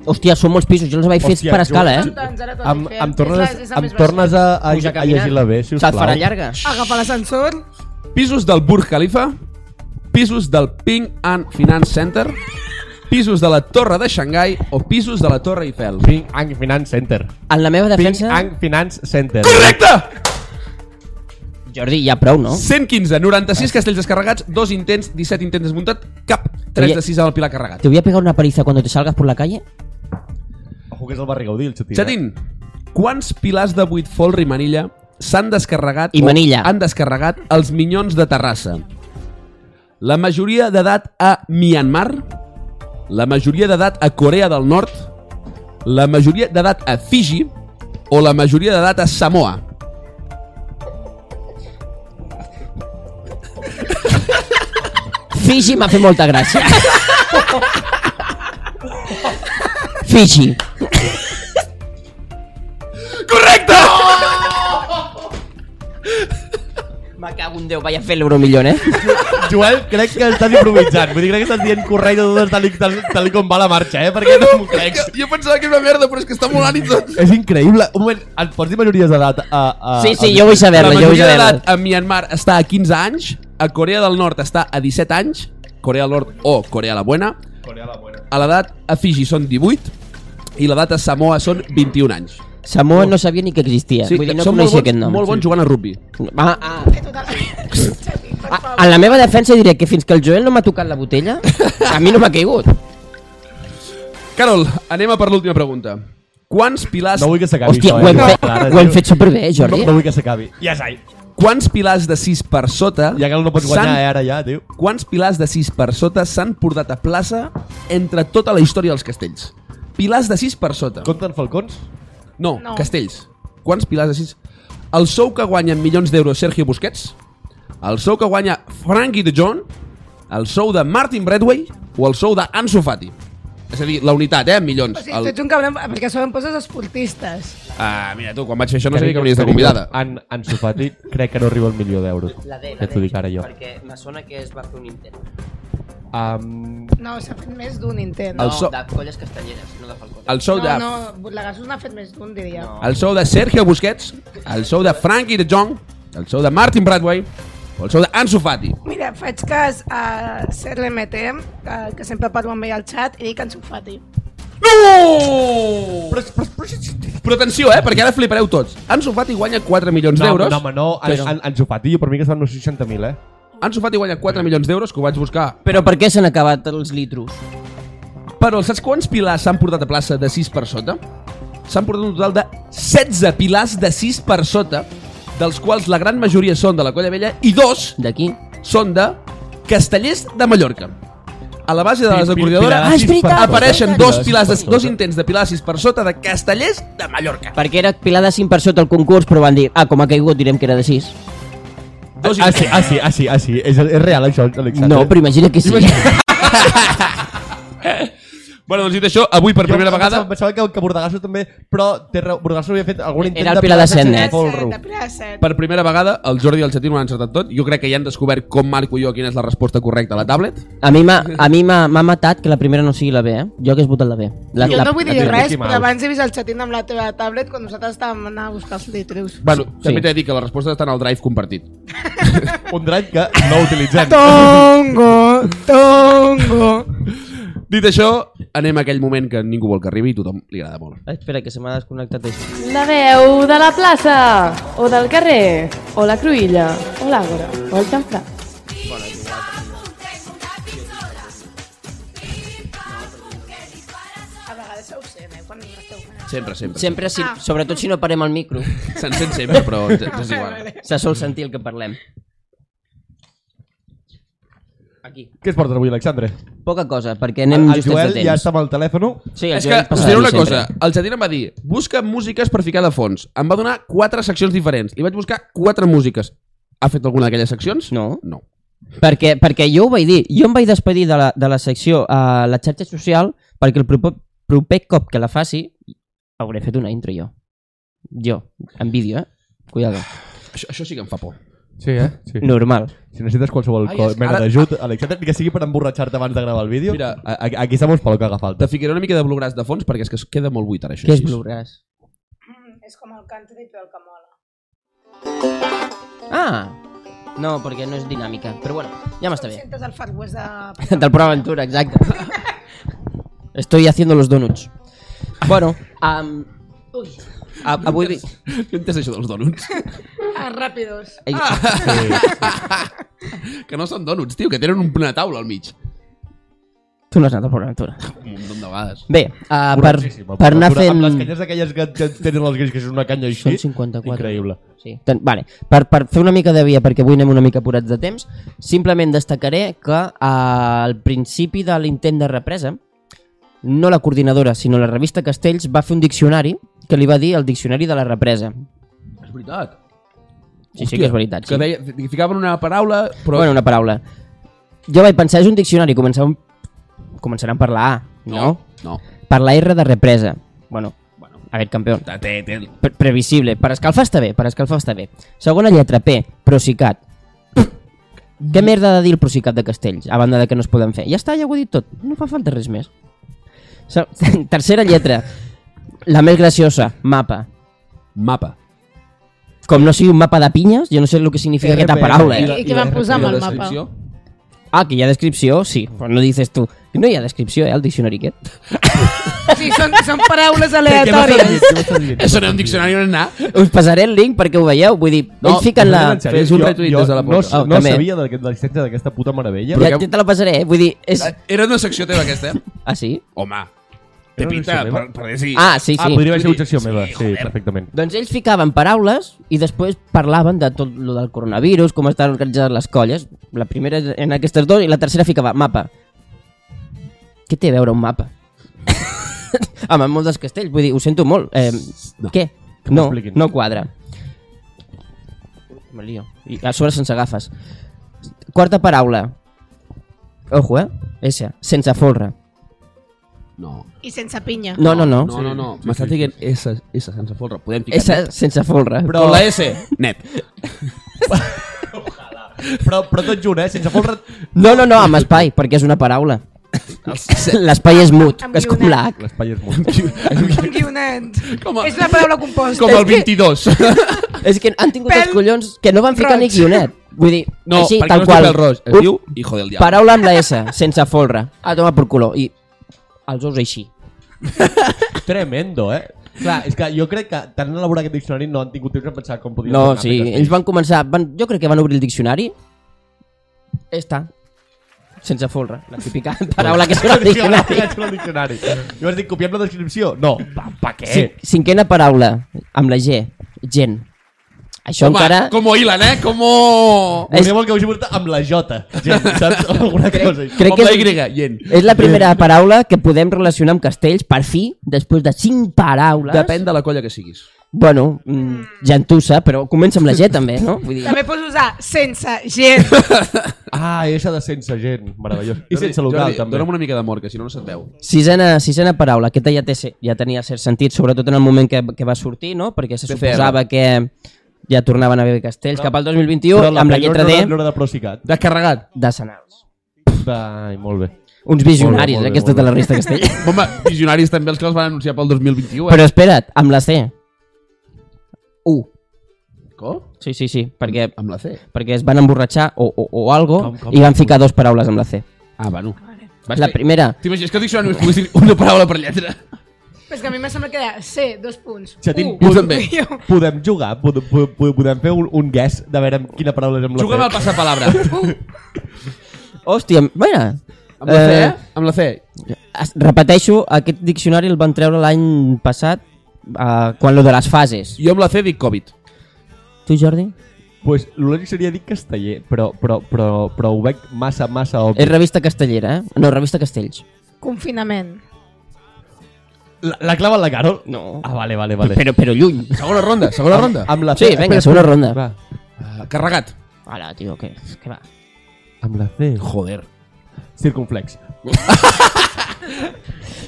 Hòstia, són molts pisos, jo els vaig fer Hòstia, per escala, jo- eh? Em, em tornes, em tornes a, a, Puja a llegir la B, si us Se't farà plau. llarga. Agafa l'ascensor. pisos del Burj Khalifa, pisos del Ping and Finance Center, pisos de la Torre de Xangai o pisos de la Torre Eiffel. Ping Ang Finance Center. En la meva Ping defensa... Ang Finance Center. Correcte! Jordi, ja prou, no? 115, 96 castells descarregats, 2 intents, 17 intents desmuntat, cap. 3 Oye. de 6 al Pilar carregat. ¿Te voy a pegar una paliza cuando te salgas por la calle? Ojo que és el barri Gaudí, el xatín. eh? Chatín, quants pilars de 8 folre i manilla s'han descarregat I o manilla. han descarregat els minyons de Terrassa? La majoria d'edat a Myanmar, la majoria d'edat a Corea del Nord, la majoria d'edat a Fiji o la majoria d'edat a Samoa. Fiji m'ha fet molta gràcia. Fiji. Correcte! Me cago en Déu, vaya fer l'euromillón, eh? Joel, crec que estàs improvisant. Vull dir, crec que estàs dient correcte totes tal, i- tal, tal i com va la marxa, eh? Perquè no m'ho crec. Jo pensava que era una merda, però és que està molt ànim tot. És increïble. Un moment, et pots dir majories d'edat a... a Sí, sí, a- jo vull La saber-la, jo vull majoria d'edat saber-la. a Myanmar està a 15 anys, a Corea del Nord està a 17 anys, Corea del Nord o Corea la Buena, a l'edat a Fiji són 18 i l'edat a Samoa són 21 anys. Samoa no sabia ni que existia. Sí, Vull dir, no són molt coneixia bons, aquest nom. molt bons jugant a rugby. Ah, ah, Xavi, per ah, favor. en la meva defensa diré que fins que el Joel no m'ha tocat la botella, a mi no m'ha caigut. Carol, anem a per l'última pregunta. Quants pilars, No vull que s'acabi Hòstia, això, ho hem, eh? fet, Clar, ho hem tio. fet superbé, eh, Jordi? No, no vull que s'acabi. Ja s'ha. quants pilars de 6 per sota Ja que no pots guanyar, eh, s'han- ara ja, tio. quants pilars de 6 per sota s'han portat a plaça entre tota la història dels castells? Pilars de 6 per sota. Compten falcons? No, no, No. castells. Quants pilars de sis? El sou que guanyen milions d'euros Sergio Busquets, el sou que guanya Frankie de Jong, el sou de Martin Bradway o el sou d'Anso Fati. És a dir, la unitat, eh, en milions. O sigui, tu El... ets un cabron, perquè a sobre em poses esportistes. Ah, mira, tu, quan vaig fer això no sabia que venies de convidada. En, en Sofati crec que no arriba al milió d'euros. Ja t'ho dic ara jo. perquè me sona que es va fer un intent. Um, No, s'ha fet més d'un intent. El so- de colles castanyeres, no de Ah. falcons. El sou de... No, no, Botlegassos n'ha fet més d'un, diria. No. El sou de Sergio Busquets, el sou de Frankie de Jong, el sou de Martin Bradway o el sou d'Anso Fati. Mira, faig cas a CRMT, que, eh, que sempre parlo amb ell al xat, i dic que ens ho fati. No! Però, però, però, però atenció, eh, perquè ara flipareu tots. Anso Fati guanya 4 milions no, d'euros. no, home, no. En, en, en Sofati, jo per mi que estan uns 60.000, eh? Ansu Fati guanya 4 milions d'euros, que ho vaig buscar. Però per què s'han acabat els litros? Però saps quants pilars s'han portat a plaça de 6 per sota? S'han portat un total de 16 pilars de 6 per sota, dels quals la gran majoria són de la Colla Vella i dos D'aquí? són de Castellers de Mallorca. A la base de la Pi- pi- desacordadora pilars de sis Ah, és per veritat. sota. apareixen dos, pilars de, per dos sota. intents de pilars de 6 per sota de Castellers de Mallorca. Perquè era Pilar de 5 per sota el concurs, però van dir, ah, com ha caigut, direm que era de 6. Dos Ah, sí, ah, sí, ah, sí, ah, sí. És, és real, això, Alexandre? No, però imagina que sí. Bueno, doncs dit això, avui per Jo primera em vegada... pensava- Pensava que, que Bordegasso també, però té raó, Bordegasso havia fet algun intent Era el de Pilar de pilassa sense Sennet. folro. Set, de set. Per primera vegada, el Jordi i el Xatín ho han encertat tot. Jo crec que ja han descobert com marco jo quina és la resposta correcta a la tablet. A mi m'ha a mi m'ha m'ha matat que la primera no sigui la B, eh? Jo hagués votat la B. La, Jo la, no vull dir la- res, Mickey Mouse. però abans he vist el xatín amb la teva tablet quan nosaltres estàvem anant a buscar els litrius. Bueno, sí. Sí. també t'he de dir que la resposta està en el drive compartit. Un dret que no utilitzem. Tongo, tongo. Dit això, anem a aquell moment que ningú vol que arribi i tothom li agrada molt. Espera, que se m'ha desconnectat això. La veu de la plaça, o del carrer, o la cruïlla, o l'àgora, o el xamfrà. A vegades se ho sent, eh, quan esteu fent. Sempre, sempre. Sempre, si, sobretot si no parem al micro, Se'n sent sempre, però ens- ens és igual. se sol sentir el que parlem. Aquí. Què es portes avui, Alexandre? Poca cosa, perquè anem el just Joel de temps. ja està amb el telèfon. Sí, el És que Joel us passa diré de una mi sempre. cosa. El Jadina em va dir, busca músiques per ficar de fons. Em va donar quatre seccions diferents. Li vaig buscar quatre músiques. Ha fet alguna d'aquelles seccions? No. No. Perquè, perquè jo ho vaig dir, jo em vaig despedir de la, de la secció a la xarxa social perquè el proper, proper cop que la faci hauré fet una intro jo. Jo, en vídeo, eh? Cuidado. Això, això sí que em fa por. Sí, eh? Sí. Normal. Si necessites qualsevol Ai, co- és que mena ara- d'ajut, Alexandre, ni que sigui per emborratxar-te abans de gravar el vídeo, Mira. a- a- aquí sabem pel que haga Te falta. ficaré una mica de bluegrass de fons perquè és que es queda molt buit ara això. Què és així. Bluegrass? És com el country, però el que mola. Ah! No, perquè no és dinàmica. Però bueno, ja m'està bé. Sentes el Far West de... Del Port Aventura, exacte. Estoy haciendo los donuts. Bueno, um... Ui, A, avui... di- Què entès això dels dònuts? Ah, ràpidos. Ai, Que no són dònuts, tio, que tenen un- una taula al mig. Tu no has anat al Port Aventura. Un munt de vegades. Bé, uh, per, Correctíssim, el per anar Port Aventura, fent... Amb les canyes aquelles que, que tenen els gris, que és una canya així. Són 54. Increïble. Sí. Ten, vale. per, per fer una mica de via, perquè avui anem una mica apurats de temps, simplement destacaré que eh, al principi de l'intent de represa, no la coordinadora, sinó la revista Castells va fer un diccionari que li va dir el diccionari de la represa. És veritat. Sí, sí que és veritat. Sí. Que deia, que ficaven una paraula, Però... però... Bueno, una paraula. Jo vaig pensar, és un diccionari, començaran, començaran per la A, no? No. Per la R de represa. Bueno, bueno. a veure, campió. Té, té, té. Pre previsible. Per escalfar està bé, per escalfar està bé. Segona lletra, P, prosicat. Què merda ha de dir el prosicat de Castells, a banda de que no es poden fer? Ja està, ja ho he dit tot. No fa falta res més. Se- Tercera lletra, la més graciosa, mapa. Mapa. Com no sigui un mapa de pinyes, jo no sé el que significa aquesta RPM. paraula. I, Eh? i què van posar I amb la el mapa? descripció? Ah, que hi ha descripció? Sí, però no dices tu. No hi ha descripció, eh, al diccionari aquest. Sí, són, són paraules Què m'has aleatòries. dit? Què m'has dit? Això no és un diccionari on anar. Us passaré el link perquè ho veieu. Vull dir, no, ells fiquen la... Oh, En sèrio, Fes un jo- retuit jo des de la no, porta. no, Ah, no també. sabia de, de l'existència d'aquesta puta meravella. Ja, ja te la passaré, eh? Vull dir, és... Era una secció teva, aquesta, eh? Ah, sí? Home, Era té una pinta... secció Per, meva? per dir, sí. Ah, sí, sí. Ah, podria haver Sí, sigut secció sí, meva. Sí, joder. perfectament. Doncs ells ficaven paraules i després parlaven de tot lo del coronavirus, com estan organitzades les colles. La primera en aquestes dues i la tercera ficava mapa. Què té a veure un mapa? Home, en molts dels castells, vull dir, ho sento molt. Eh, No. Què? m'ho No, expliquin. no quadra. Me lio. I a sobre sense agafes. Quarta paraula. Ojo, eh? S. Sense folre. No. I sense pinya. No, no, no. No, no, no. M'estàs dient S, S sense folre. Podem ficar... S. Sense folre. Però... Con la S, net. Però, però tot junt, eh? Sense folre... No, no, no, amb espai, perquè és una paraula. L'espai és mut, Amb és com guionet. l'H. L'espai és molt... Un guionet. Com a- És una paraula composta. Com el 22. És que han tingut Pèl els collons que no van ficar ni roig. guionet. Vull dir, No, així, perquè no tal es diu qual. el roig. Es Uf, diu Hijo del Diablo. Paraula amb la S, sense folre. A tomar por culo. I els ous així. Tremendo, eh? Clar, és que jo crec que tant en elaborar aquest diccionari no han tingut temps de pensar com podien... No, tornar a sí, fer ells van començar... Van, jo crec que van obrir el diccionari. Està. Sense folre. La típica Doncs. paraula que surt al diccionari. castells. El diccionari. Jo vaig dir, copiem la descripció? No. Pa, pa què? Cin- Cinquena paraula, amb la G. Gent. Això Home, encara... Com hilen, eh? Com... És- Voleu el que us he portat amb la J. Gent, saps? Alguna cosa així. Crec Amb que la és- Eh, Y, gent. És la primera paraula que podem relacionar amb castells, per fi, després de cinc paraules. Depèn de la colla que siguis. Bueno, mm, gentussa, però comença amb la G també, no? Vull dir, També pots usar sense gent. Ah, i això de sense gent. Meravellós. I sense local, també. Dóna'm una mica de mort, que si no, no se't veu. sisena, sisena paraula, aquesta ja, té, se- ja tenia cert sentit, sobretot en el moment que, que va sortir, no? Perquè se PCR. suposava que ja tornaven a haver castells cap al 2021 Però amb la Taylor lletra no D era- No era de Procicat. Descarregat. de Senals. Ai, molt bé. Uns visionaris, Molt bé, molt bé, eh, aquests molt de la resta castell. Home, visionaris també els que els van anunciar pel 2021, eh? però espera't, amb la C. U. Com? Sí, sí, sí, perquè, Amb la C. perquè es van emborratxar o, o, o algo Com, com, i van ficar dos paraules amb la C. Ah, bueno. Vas La fer- primera, T'imagines que el diccionari només pogués dir una paraula per lletra? Però és que a mi em sembla que era C, dos punts. Xatín, U. jo també. Jo. Podem jugar? Podem, podem fer un, un guess de veure amb quina paraula és amb la Juga amb el C? passapalabra. Hòstia, mira. Amb la C, Eh, eh? Amb la C. es- Repeteixo, aquest diccionari el van treure l'any passat eh, quan lo de les fases. Jo amb la C dic Covid. Tu, Jordi? Pues, lo lògic seria dir casteller, però, però, però, però ho veig massa, massa obvi. És revista castellera, eh? No, revista Castells. Confinament. La, la clava en la Carol? No. Ah, vale, vale, vale. Però, però lluny. Segona ronda, segona ronda. Amb la Sí, C- vinga, espera, segona espera. ronda. Va. Ah, Carregat. Hola, tio, que, que va. Amb la C. Joder. Circunflex.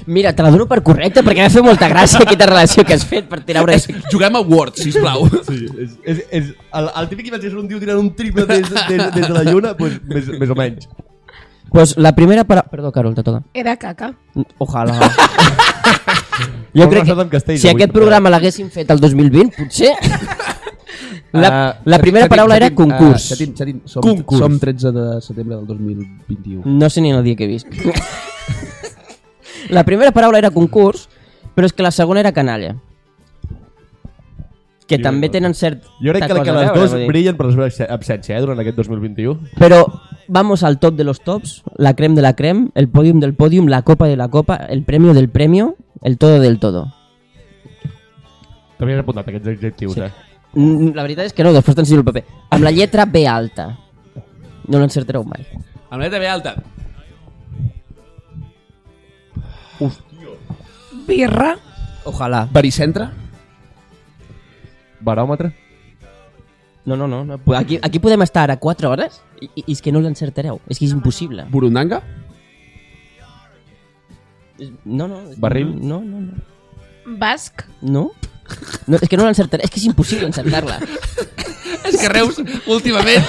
Mira, te la dono per correcta perquè m'ha fet molta gràcia aquesta relació que has fet per tirar una... Juguem a Word, sisplau. Sí, és, és, és el, el típic imatge és un tio tirant un triple des, des, des de la lluna, pues, més, més o menys. Pues la primera paraula... Perdó, Carol, te toca. Era caca. Ojalà. Jo crec que- Amb castell, Si aquest programa l'haguessin fet el 2020, potser... Ah, Ah, La, la primera paraula era concurs. Xatín, Xatín, ah, som, Concurs. som 13 de setembre del 2021. No sé ni el dia que he vist. la primera paraula era concurs, però és que la segona era canalla. que també tenen cert Jo crec que, que les dues brillen per la seva abs- absència eh, durant aquest 2021. Però vamos al top de los tops, la creme de la creme, el podium del podium, la copa de la copa, el premio del premio, el todo del todo. També has apuntat aquests adjectius, Sí. sí. eh? Mm, La veritat és que no, després t'ensenyo el paper. Amb la lletra B alta. No l'encertareu mai. Amb la letra B alta. Birra, Ojalà. Vericentre. Baròmetre? No, no, no. no. po- Aquí, aquí podem estar ara 4 hores i, i és que no l'encertareu. És que és impossible. Burundanga. No, no. és- Barril? No, no, no. basc, No? no és que no l'encertaré. És que és impossible encertar-la. És que Reus, últimament...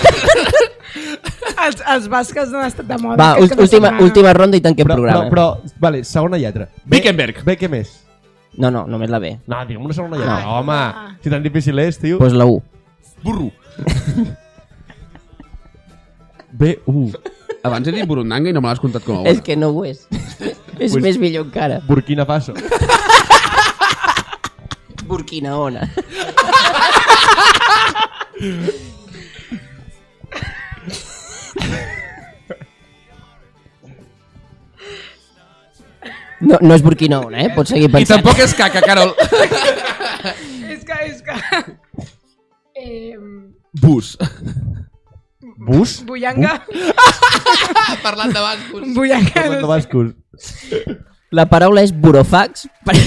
els, els basques han estat de moda. Va, ul- aquest cap de última, setmana. última ronda i tanquem Però, però, programa. però, vale, segona lletra. Bé- Wickenberg. Bé, què més? No, no, només la B. No, digue'm una segona lletra. Ah. Home, Ah. si tan difícil és, tio. Pues la U. Burro. B-U. Abans he dit Burundanga i no me l'has comptat com a És bona. que no ho és. és Pues- més millor encara. Burkina Faso. Burkina Ona. No, no és Burkina Ona, eh? Pots seguir I pensant. tampoc és caca, Carol. És que, és que... Eh, Bus. Bus? Bullanga, Parlant de bascos. Bullanga, Parlant de no sé. bascos. La paraula és burofax. per-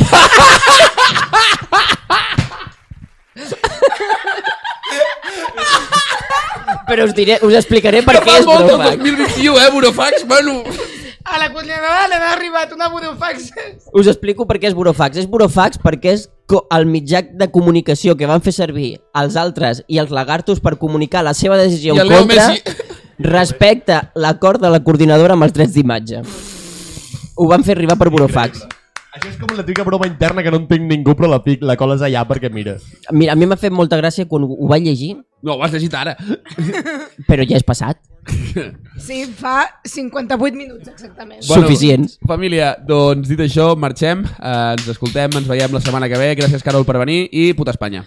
Però us, diré, us explicaré per què és burofax. 2021, eh, Burofax? Bueno... A la coordinadora li ha arribat una burofax. Us explico per què és burofax. És burofax perquè és co- el mitjà de comunicació que van fer servir els altres i els lagartos per comunicar la seva decisió I el en Leo contra Messi. respecte l'acord de la coordinadora amb els drets d'imatge. Ho van fer arribar per burofax. Això és com la típica broma interna que no entenc ningú, però la, pic, la coles allà perquè mira. Mira, a mi m'ha fet molta gràcia quan ho ho vaig llegir, No, ho has llegit ara. però ja és passat. Sí, fa 58 minuts exactament. Bueno, Suficients. Família, doncs dit això, marxem. Eh, ens escoltem, ens veiem la setmana que ve. Gràcies, Carol, per venir i puta Espanya.